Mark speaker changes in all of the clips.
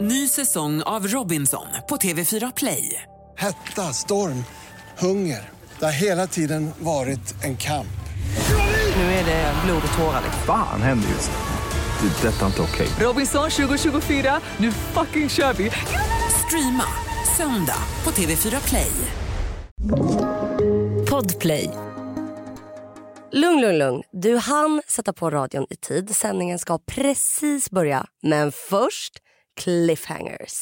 Speaker 1: Ny säsong av Robinson på TV4 Play.
Speaker 2: Hetta, storm, hunger. Det har hela tiden varit en kamp.
Speaker 1: Nu är det blod och tårar.
Speaker 3: Fan händer just nu. Det. är Detta är inte okej.
Speaker 1: Robinson 2024, nu fucking kör vi! Streama söndag på TV4 Play.
Speaker 4: Podplay. Lugn, lugn, lugn. Du hann sätta på radion i tid. Sändningen ska precis börja. Men först cliffhangers.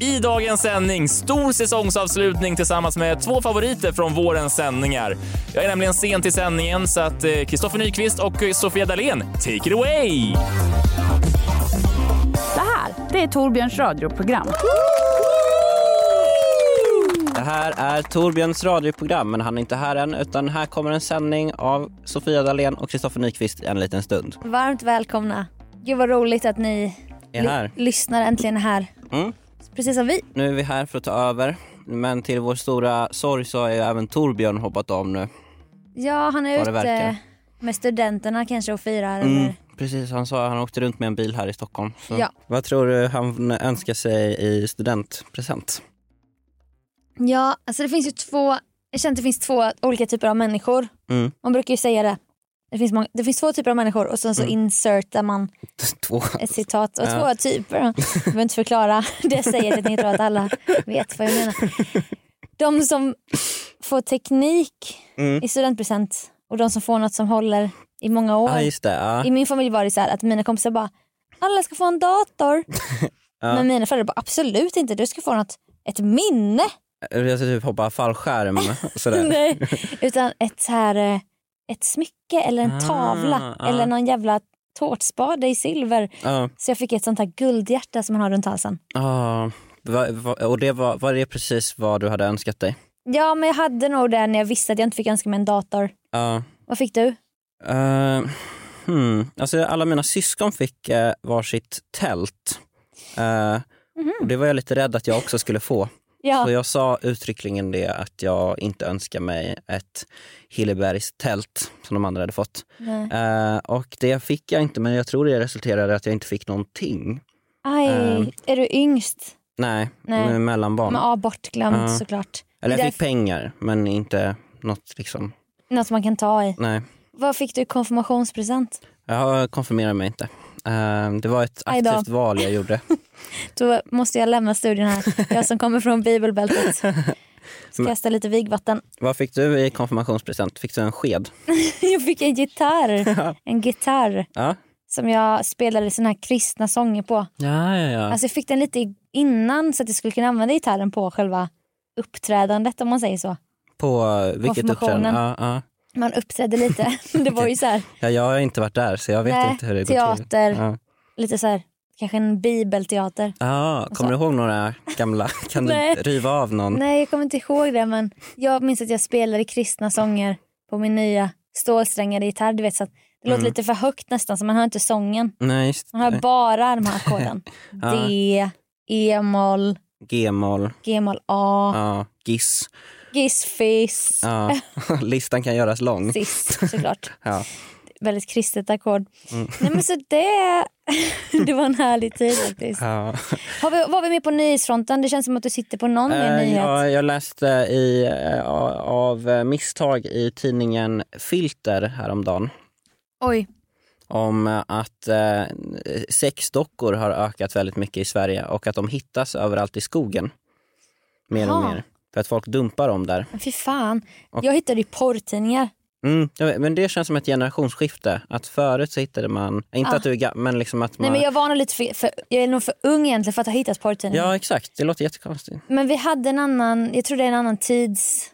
Speaker 5: I dagens sändning, stor säsongsavslutning tillsammans med två favoriter från vårens sändningar. Jag är nämligen sen till sändningen så att eh, Kristoffer Nyqvist och eh, Sofia Dalén, take it away!
Speaker 6: Det här, det är Torbjörns radioprogram.
Speaker 7: Det här är Torbjörns radioprogram, men han är inte här än utan här kommer en sändning av Sofia Dalén och Kristoffer Nyqvist i en liten stund.
Speaker 8: Varmt välkomna. Gud vad roligt att ni
Speaker 7: Är här.
Speaker 8: ly- lyssnar äntligen är här.
Speaker 7: Mm.
Speaker 8: Precis som vi.
Speaker 7: Nu är vi här för att ta över, men till vår stora sorg så har ju även Torbjörn hoppat om nu.
Speaker 8: Ja, han är
Speaker 7: Vad det verkar.
Speaker 8: ute med studenterna kanske och firar.
Speaker 7: Mm,
Speaker 8: Eller...
Speaker 7: precis, han sa han åkte runt med en bil här i Stockholm. Så.
Speaker 8: Ja.
Speaker 7: Vad tror du han önskar sig i studentpresent?
Speaker 8: Ja, alltså det finns ju två, jag känner att det finns två olika typer av människor.
Speaker 7: Mm.
Speaker 8: Man brukar ju säga det. Det finns, många, det finns två typer av människor och sen så
Speaker 7: Mm.
Speaker 8: insertar man
Speaker 7: Två.
Speaker 8: ett citat och
Speaker 7: Ja.
Speaker 8: två typer. Jag behöver inte förklara. Det säger jag för att ni tror att alla vet vad jag menar. De som får teknik
Speaker 7: Mm.
Speaker 8: i studentpresent och de som får något som håller i många år.
Speaker 7: Ja, Ah, just det. Ja.
Speaker 8: I min familj var det så här att mina kompisar bara alla ska få en dator.
Speaker 7: Ja.
Speaker 8: Men mina föräldrar bara absolut inte, du ska få något, ett minne.
Speaker 7: Jag ska typ hoppa fallskärm. Sådär.
Speaker 8: Nej. Utan ett, så här, eh, ett smycke eller en
Speaker 7: Ah,
Speaker 8: tavla
Speaker 7: ah.
Speaker 8: eller någon jävla tårtspade i silver.
Speaker 7: Ja.
Speaker 8: Så jag fick ett sånt här guldhjärta som man har runt halsen.
Speaker 7: Ja, va, va, och det var, var det precis vad du hade önskat dig?
Speaker 8: Ja men jag hade nog det när jag visste att jag inte fick önska mig en dator.
Speaker 7: Ja.
Speaker 8: Vad fick du?
Speaker 7: eh, hmm. alltså, alla mina syskon fick uh, varsitt tält. Eh, och det var jag lite rädd att jag också skulle få.
Speaker 8: Mhm. Ja,
Speaker 7: Så jag sa uttryckligen det att jag inte önskar mig ett Hillebergs tält som de andra hade fått.
Speaker 8: nej.
Speaker 7: Eh, och det fick jag inte men jag tror det resulterade i att jag inte fick någonting.
Speaker 8: Aj,
Speaker 7: ehm,
Speaker 8: är du yngst?
Speaker 7: Nej,
Speaker 8: Nej.
Speaker 7: med mellanbarn.
Speaker 8: Men ja, bortglömt
Speaker 7: Ja.
Speaker 8: såklart.
Speaker 7: Eller jag fick
Speaker 8: Därför-
Speaker 7: pengar men inte något liksom,
Speaker 8: Något man kan ta i.
Speaker 7: nej.
Speaker 8: Vad fick du i konfirmationspresent?
Speaker 7: Jag konfirmerar mig inte. Ehm, Det var ett
Speaker 8: Aj då.
Speaker 7: aktivt val jag gjorde.
Speaker 8: Då måste jag lämna studion här. Jag som kommer från bibelbältet. Ska kasta lite vigvatten.
Speaker 7: Vad fick du i konfirmationspresent? Fick du en sked?
Speaker 8: Jag fick en gitarr. En gitarr
Speaker 7: Ja.
Speaker 8: som jag spelade såna här kristna sånger på.
Speaker 7: Ja, ja, ja.
Speaker 8: Alltså jag fick den lite innan så att jag skulle kunna använda gitarren på själva uppträdandet om man säger så.
Speaker 7: På eh, vilket uppträdande?
Speaker 8: konfirmationen.
Speaker 7: Ja, ja.
Speaker 8: Man uppträdde lite. Det var ju så här,
Speaker 7: ja, jag har inte varit där så jag vet
Speaker 8: Nej,
Speaker 7: inte hur det går
Speaker 8: teater.
Speaker 7: till. Ja.
Speaker 8: lite så här kanske en bibelteater.
Speaker 7: Ja, kommer du ihåg några gamla? Kan du
Speaker 8: Alltså. Nej.
Speaker 7: riva av någon?
Speaker 8: Nej jag kommer inte ihåg det men jag minns att jag spelade kristna sånger på min nya stålsträngade gitarr. Du vet, så att det låter lite för högt nästan så man hör inte sången.
Speaker 7: Mm. Nej, just
Speaker 8: Man hör
Speaker 7: det.
Speaker 8: bara de här ackorden. D, E-moll,
Speaker 7: G-moll,
Speaker 8: G-moll A,
Speaker 7: ja, giss.
Speaker 8: giss, fiss,
Speaker 7: Ja. Listan kan göras lång.
Speaker 8: cis såklart.
Speaker 7: Ja.
Speaker 8: Väldigt kristet ackord.
Speaker 7: Mm.
Speaker 8: Nej men så det, det var en härlig tid faktiskt.
Speaker 7: Ja.
Speaker 8: Har vi, var vi med på nyhetsfronten? Det känns som att du sitter på någon mer
Speaker 7: Eh,
Speaker 8: nyhet.
Speaker 7: jag, jag läste i, eh, av eh, misstag i tidningen Filter häromdagen.
Speaker 8: Oj,
Speaker 7: om eh, att eh, sexdockor har ökat väldigt mycket i Sverige och att de hittas överallt i skogen. Mer och
Speaker 8: Jaha.
Speaker 7: mer. För att folk dumpar dem där.
Speaker 8: men fy fan. Jag hittade ju porrtidningar.
Speaker 7: Mm, jag vet, men det känns som ett generationsskifte. Att förut så hittade man, eh, inte
Speaker 8: Ah.
Speaker 7: att du är gam- men liksom att man...
Speaker 8: Nej men jag var nog lite för, för, jag är nog för ung egentligen för att ha hittat porrtidningar.
Speaker 7: Ja exakt, det låter jättekonstigt.
Speaker 8: Men vi hade en annan, jag tror det är en annan tids,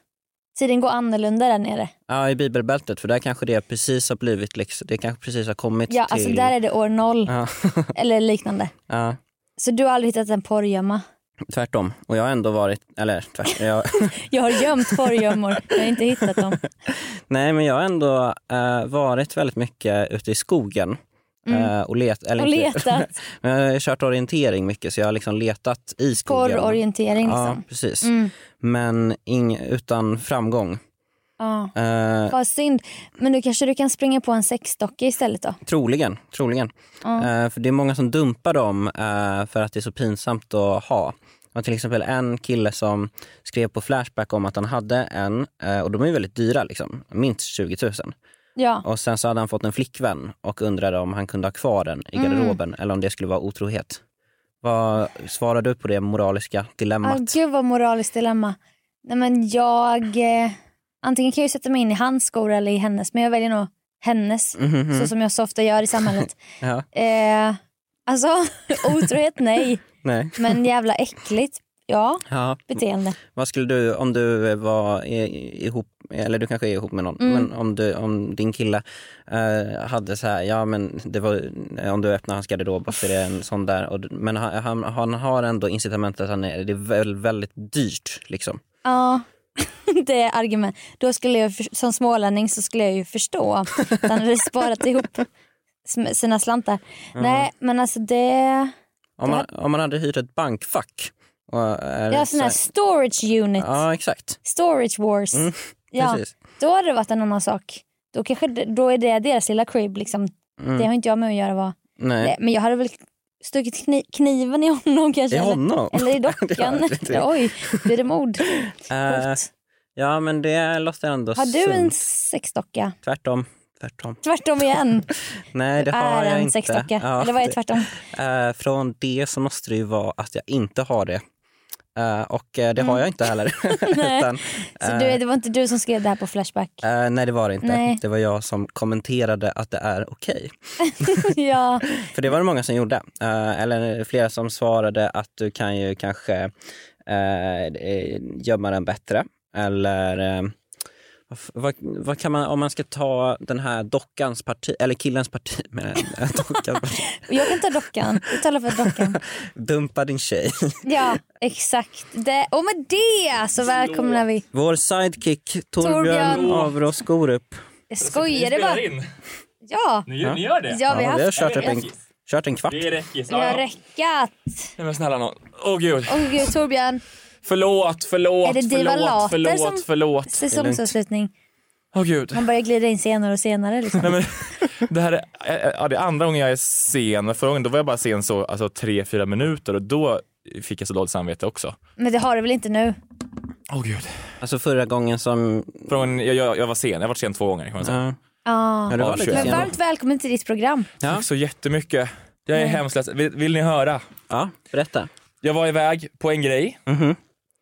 Speaker 8: tiden går annorlunda där nere.
Speaker 7: Ja i bibelbältet för där kanske det precis har blivit, liksom, det kanske precis har kommit
Speaker 8: Ja,
Speaker 7: till...
Speaker 8: alltså där är det år noll
Speaker 7: Ja.
Speaker 8: eller liknande.
Speaker 7: ja,
Speaker 8: Så du har aldrig hittat en porrgömma?
Speaker 7: tvärtom. Och jag har ändå varit, eller tvärtom, jag,
Speaker 8: Jag har gömt porrgömmor, jag har inte hittat dem.
Speaker 7: Nej men jag har ändå eh, varit väldigt mycket ute i skogen. eh, och, let, eller
Speaker 8: Och
Speaker 7: inte-
Speaker 8: letat.
Speaker 7: men jag har kört orientering mycket så jag har liksom letat i skogen.
Speaker 8: Porrorientering
Speaker 7: Ja
Speaker 8: liksom.
Speaker 7: precis. Men ing, utan framgång.
Speaker 8: Ja.
Speaker 7: Eh,
Speaker 8: Vad synd. Men då kanske du kan springa på en sexdocka istället då?
Speaker 7: Troligen, troligen. Eh, för det är många som dumpar dem eh, för att det är så pinsamt att ha. Det var till exempel en kille som skrev på Flashback om att han hade en, eh, och de är ju väldigt dyra, liksom, minst 20 000.
Speaker 8: Ja.
Speaker 7: Och sen så hade han fått en flickvän och undrade om han kunde ha kvar den i
Speaker 8: Mm.
Speaker 7: garderoben eller om det skulle vara otrohet. Vad svarar du på det moraliska
Speaker 8: Ah,
Speaker 7: dilemmat?
Speaker 8: gud vad moraliskt dilemma. Nej men jag... Eh, antingen kan jag ju sätta mig in i hans skor eller i hennes. Men jag väljer nog hennes.
Speaker 7: Mhm.
Speaker 8: Så som jag så ofta gör i samhället.
Speaker 7: Ja,
Speaker 8: eh, alltså otrohet nej.
Speaker 7: nej.
Speaker 8: Men jävla äckligt. Ja,
Speaker 7: Ja.
Speaker 8: beteende.
Speaker 7: Vad skulle du, om du var i- ihop, eller du kanske är ihop med någon,
Speaker 8: Mm.
Speaker 7: men om, du, om din kille eh, hade så här, ja men det var, om du öppnar hans garderob och så är det en sån där, och, du- men han, han, han har ändå incitamentet att han är, det är väl, väldigt dyrt liksom.
Speaker 8: Ja, det är argument. Då skulle jag, för- som smålänning så skulle jag ju förstå. att Han hade sparat ihop sm- sina slantar. Nej, men alltså det...
Speaker 7: Om man, om man hade hyrt ett bankfack. Och, är
Speaker 8: Jag har
Speaker 7: så
Speaker 8: sån här
Speaker 7: här-
Speaker 8: storage unit.
Speaker 7: Ja exakt,
Speaker 8: Storage wars. ja,
Speaker 7: precis.
Speaker 8: då hade det varit en annan sak. Då, kanske, det- då är det deras lilla crib. Liksom. Det har inte jag med att göra. Vad.
Speaker 7: Mm. Nej.
Speaker 8: Nej, men jag hade väl stuckit kni- kniven i honom kanske.
Speaker 7: I
Speaker 8: eller-
Speaker 7: honom?
Speaker 8: Eller i
Speaker 7: Det har
Speaker 8: dockan.
Speaker 7: jag inte.
Speaker 8: Oj, blir det mod?
Speaker 7: Eh,
Speaker 8: Coolt.
Speaker 7: ja men det låter ändå
Speaker 8: Har du en
Speaker 7: sunt.
Speaker 8: sexdocka?
Speaker 7: Tvärtom. Tvärtom.
Speaker 8: Tvärtom igen.
Speaker 7: Nej det har
Speaker 8: är
Speaker 7: jag
Speaker 8: en
Speaker 7: inte.
Speaker 8: sexdocka.
Speaker 7: Ja,
Speaker 8: Eller vad är
Speaker 7: det-
Speaker 8: tvärtom?
Speaker 7: Eh, från det så måste det ju vara att jag inte har det. Eh, och eh, det har jag inte heller.
Speaker 8: Mm. Nej.
Speaker 7: Utan,
Speaker 8: Så
Speaker 7: eh,
Speaker 8: du, det var inte du som skrev det här på Flashback?
Speaker 7: eh, nej det var det inte.
Speaker 8: Nej.
Speaker 7: Det var jag som kommenterade att det är okej.
Speaker 8: ja.
Speaker 7: För det var det många som gjorde. Eh, eller flera som svarade att du kan ju kanske eh, eh, gömma den bättre. Eller eh, vad f- vad, vad kan man, om man ska ta den här dockans parti, eller killens parti, men, eh, dockans parti
Speaker 8: Jag kan ta dockan. Du talar för dockan.
Speaker 7: dumpa din tjej.
Speaker 8: Ja, exakt. Det, och med det så välkomnar vi.
Speaker 7: Vår sidekick Torbjörn,
Speaker 8: Torbjörn.
Speaker 7: Avrås Gorup.
Speaker 5: Vi
Speaker 8: Jag skojar, det
Speaker 5: spelar
Speaker 8: var...
Speaker 5: in.
Speaker 8: Ja,
Speaker 5: Ni, gör- ni gör det?
Speaker 8: ja vi har
Speaker 7: vi har
Speaker 8: haft...
Speaker 7: kört, upp en, kört en kvart.
Speaker 5: Det är räckis.
Speaker 8: Vi har
Speaker 5: Ja, ja.
Speaker 8: räckat.
Speaker 5: Nej men snälla nån. Åh gud.
Speaker 8: Åh gud, Torbjörn.
Speaker 5: Förlåt, förlåt,
Speaker 8: Är det Diva
Speaker 5: förlåt,
Speaker 8: Later
Speaker 5: förlåt,
Speaker 8: som-
Speaker 5: förlåt.
Speaker 8: Säsongsavslutning.
Speaker 5: Åh gud.
Speaker 8: Man börjar glida in senare och senare. Liksom.
Speaker 5: Nej, men, det här är, ja, det är andra gången jag är sen. Men förra gången då var jag bara sen så alltså, tre, fyra minuter och då fick jag så dåligt samvete också.
Speaker 8: Men det har du väl inte nu?
Speaker 5: Åh gud.
Speaker 7: Alltså förra gången som...
Speaker 5: Förra gången jag, jag, jag var sen, jag har varit sen två gånger kan man säga.
Speaker 7: Ja,
Speaker 8: Ja.
Speaker 7: ja, det var
Speaker 5: Avskyr.
Speaker 7: lite
Speaker 8: Men
Speaker 7: sen.
Speaker 8: varmt välkommen till ditt program.
Speaker 7: Ja.
Speaker 5: Tack så jättemycket. Jag är hemskt ledsen. Vill, vill ni höra?
Speaker 7: Ja, berätta.
Speaker 5: Jag var iväg på en grej.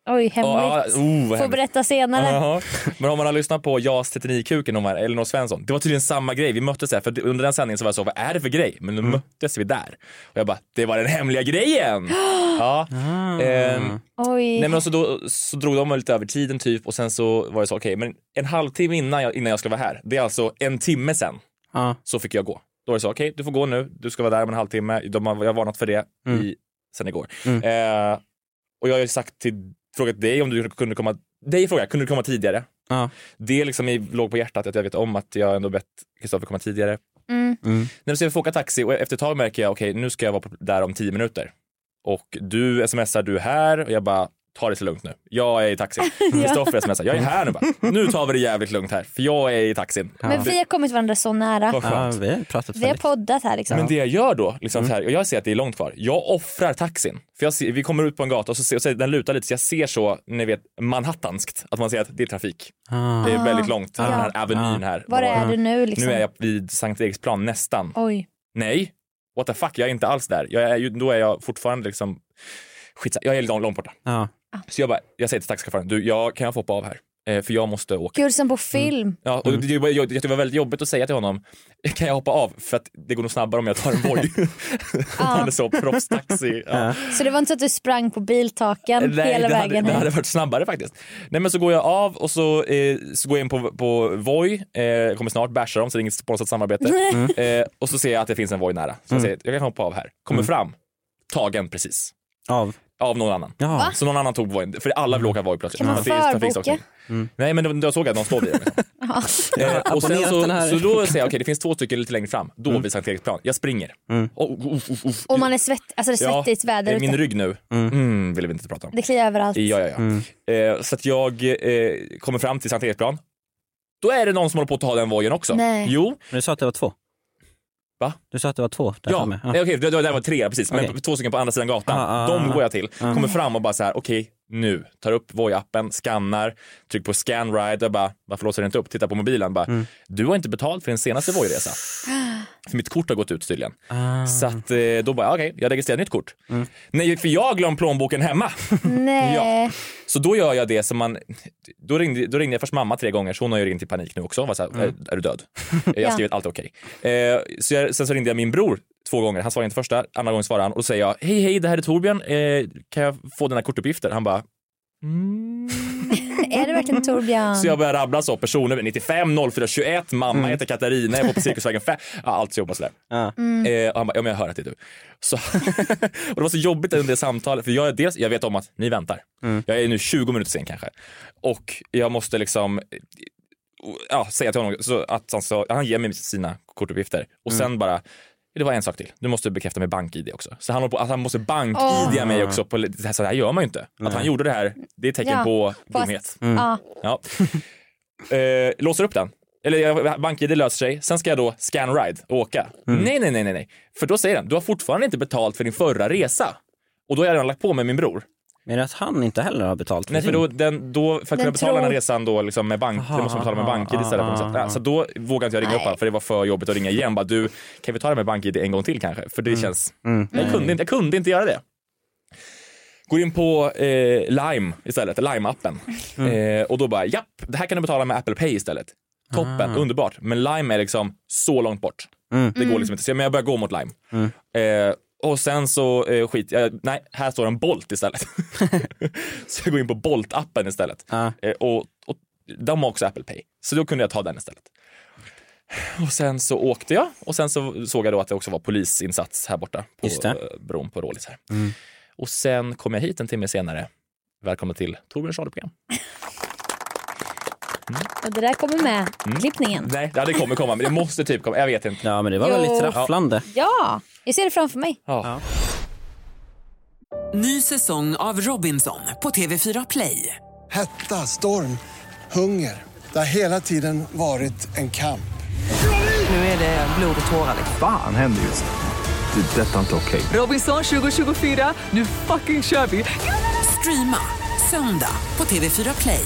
Speaker 8: Oj,
Speaker 5: Och, ja,
Speaker 8: hemligt.
Speaker 5: oh, vad
Speaker 8: Får
Speaker 5: hemskt.
Speaker 8: berätta senare.
Speaker 5: Jaha. Men om man har lyssnat på JAS 39-kuken om Elinor Svensson. Det var tydligen samma grej. Vi möttes där. För under den sändningen så var jag så, vad är det för grej? Men då möttes vi där. Och jag bara, det var den hemliga grejen! ja. Ehm,
Speaker 8: Oj.
Speaker 5: Nej men och så, då, så drog de lite över tiden typ och sen så var det så okej men en halvtimme innan jag, innan jag skulle vara här, det är alltså en timme sen,
Speaker 7: Ja.
Speaker 5: så fick jag gå. Då var det så okej du får gå nu, du ska vara där om en halvtimme, de har, jag har varnat för det i, sen igår. Eh, och jag har ju sagt till, frågat dig om du kunde komma, dig frågade jag, kunde du komma tidigare?
Speaker 7: Ja.
Speaker 5: Det liksom i- låg på hjärtat att jag vet om att jag ändå bett Kristoffer komma tidigare.
Speaker 8: Mm.
Speaker 5: När vi får åka taxi och efter ett tag märker jag okej nu ska jag vara på- där om tio minuter. Och du smsar du är här och jag bara ta det så lugnt nu. Jag är i taxin. Kristoffer smsar jag är här nu bara. Nu tar vi det jävligt lugnt här för jag är i taxin.
Speaker 8: Men vi har kommit varandra så nära.
Speaker 5: Vad
Speaker 7: Ja,
Speaker 5: skönt.
Speaker 7: vi har pratat
Speaker 8: Vi har
Speaker 7: väldigt.
Speaker 8: poddat här liksom.
Speaker 5: Men det jag gör då, liksom
Speaker 8: Mm.
Speaker 5: så här, och jag ser att det är långt kvar, jag offrar taxin. För jag ser, vi kommer ut på en gata och, så ser, och så den lutar lite så jag ser så, ni vet, manhattanskt, att man ser att det är trafik.
Speaker 7: Ah.
Speaker 5: Det är väldigt långt, den här avenyn här.
Speaker 8: Ah. Var är du nu liksom?
Speaker 5: Nu är jag vid Sankt Eriksplan, nästan.
Speaker 8: Oj.
Speaker 5: Nej, what the fuck, jag är inte alls där. Jag är, ju- då är jag fortfarande liksom, skitsa, jag är långt, långt borta.
Speaker 7: Ja.
Speaker 5: Så jag, bara, jag säger till taxichauffören, du, jag, kan jag få hoppa av här? Eh, för jag måste åka.
Speaker 8: Gud, som på film.
Speaker 5: Ja, och det, var- jag, det var väldigt jobbigt att säga till honom, kan jag hoppa av? För att det går nog snabbare om jag tar en Voi. Han är så proffstaxi. Ja.
Speaker 8: Så det var inte så att du sprang på biltaken hela
Speaker 5: Mm. det
Speaker 8: vägen
Speaker 5: hade, det
Speaker 8: hit?
Speaker 5: hade varit snabbare faktiskt. Nej men så går jag av och så, eh, så går jag in på, på Voi, eh, jag kommer snart basha dem så det är inget sponsrat samarbete. Eh, och så ser jag att det finns en Voi nära. Så jag säger, jag kan hoppa av här. Kommer fram, tagen precis.
Speaker 7: Av?
Speaker 5: Av någon annan.
Speaker 7: Jaha. Va?
Speaker 5: Så någon annan tog Voin, för alla vill åka Voi plötsligt.
Speaker 8: Kan man
Speaker 5: För att det är
Speaker 8: förboka?
Speaker 5: trafikstockning. Nej men de- jag såg att någon stod vid den. Mm. Eh, Mm. och sen
Speaker 7: Abonnera
Speaker 5: så,
Speaker 7: den här.
Speaker 5: så då säger jag okej det finns två stycken lite längre fram, då vid Sankt Eriksplan. Jag springer. Och, och,
Speaker 8: Och man är svett, alltså det är svettigt väder ute.
Speaker 5: min rygg nu, mm, vill vi inte prata om.
Speaker 8: Det kliar överallt.
Speaker 5: Ja, ja, ja. Eh, så att jag eh, kommer fram till Sankt Eriksplan Då är det någon som håller på att ta den vojen också.
Speaker 8: Nej.
Speaker 5: Jo,
Speaker 7: Men du sa att det var två.
Speaker 5: Va?
Speaker 7: Du sa att det var två där
Speaker 5: ja. Eh.
Speaker 7: framme.
Speaker 5: Nej, okej, det, det där var tre, precis. Men
Speaker 7: Okej.
Speaker 5: två stycken på andra sidan gatan.
Speaker 7: Ah, ah,
Speaker 5: De
Speaker 7: ah.
Speaker 5: går jag till. Kommer fram och bara så här, okej, nu. Tar upp Voi-appen, skannar, trycker på scan ride och bara, varför låser det inte upp? Tittar på mobilen bara,
Speaker 7: Mm.
Speaker 5: du har inte betalt för din senaste Voi-resa. För mitt kort har gått ut tydligen.
Speaker 7: Ah.
Speaker 5: Så att eh, då bara, okej, jag registrerar ett nytt kort.
Speaker 7: Mm.
Speaker 5: Nej, för jag har glömt plånboken hemma.
Speaker 8: Nej.
Speaker 5: Ja. Så då gör jag det som man... Då ringde, då ringde jag först mamma tre gånger, så hon har ju ringt i panik nu också. Var så här, är, är du död? Jag har skrivit allt är okej. Eh, så jag, sen så ringde jag min bror två gånger. Han svarade inte första, andra gången svarade han och då säger jag hej hej det här är Torbjörn, eh, kan jag få dina kortuppgifter? Han bara
Speaker 8: Är det verkligen Torbjörn?
Speaker 5: så jag börjar rabbla så personer 95 04 21 mamma heter Katarina, jag bor på Cirkusvägen 5, ja, alltihopa sådär.
Speaker 7: Ja.
Speaker 5: Eh, och han bara, ja men jag hör att det är du. Så, och det var så jobbigt under det samtalet, för jag, är dels, jag vet om att ni väntar. Jag är nu 20 minuter sen kanske. Och jag måste liksom eh, ja, säga till honom, så att han, sa- han ger mig sina kortuppgifter och sen bara, det var en sak till, du måste bekräfta med bank-id också. Så han, håller på, att han måste bank-id mig också, på, lite- så här- så här gör man ju inte. Att han gjorde det här, det är ett tecken
Speaker 8: Ja,
Speaker 5: på
Speaker 8: på att-
Speaker 5: dumhet. Mm.
Speaker 8: Ja.
Speaker 5: Ja. Eh, låser upp den. Eller jag- BankID löser sig. Sen ska jag då scan ride och åka. Nej, nej, nej, nej, nej. För då säger den, du har fortfarande inte betalt för din förra resa. Och då har jag redan lagt på med min bror.
Speaker 7: Men att han inte heller har betalt.
Speaker 5: Nej, för då, den, då, för att kunna
Speaker 8: Den
Speaker 5: betala den här
Speaker 8: tror-
Speaker 5: resan då liksom med bank, det måste man betala med BankID istället. På något sätt. Ja, så då vågade inte jag ringa upp honom för det var för jobbigt att ringa igen. Bara, du, kan vi ta det med BankID en gång till kanske? För det känns... Jag, kunde inte, jag kunde inte göra det. Går in på eh, Lime istället, Lime-appen.
Speaker 7: Mm.
Speaker 5: Eh, och då bara, japp, det här kan du betala med Apple Pay istället. Toppen,
Speaker 7: Ah.
Speaker 5: underbart. Men Lime är liksom så långt bort.
Speaker 7: Mm.
Speaker 5: Det går liksom inte. Så jag, men jag börjar gå mot Lime. Eh, och sen så eh, skit jag, nej, här står en Bolt istället. så jag går in på Bolt-appen istället.
Speaker 7: Ja.
Speaker 5: Eh, och, och de har också Apple Pay. Så då kunde jag ta den istället. Och sen så åkte jag och sen så såg jag då att det också var polisinsats här borta på
Speaker 7: Just det.
Speaker 5: eh, bron på Rålis här. Och sen kom jag hit en timme senare. Välkomna till Torbjörns radioprogram.
Speaker 8: Och det där kommer med klippningen.
Speaker 5: Nej, ja, Mm. det kommer komma, men det måste typ komma. Jag vet inte.
Speaker 7: Ja, men det var
Speaker 8: Jo.
Speaker 7: väldigt rafflande.
Speaker 8: Ja, jag ser det framför mig.
Speaker 5: Ja.
Speaker 1: Ny säsong av Robinson på TV4 Play.
Speaker 2: Hetta, storm, hunger. Det har hela tiden varit en kamp.
Speaker 1: Nu är det blod och tårar.
Speaker 3: Fan händer just det. Det är detta inte okej.
Speaker 1: Robinson 2024, nu fucking kör vi! Streama söndag på TV4 Play.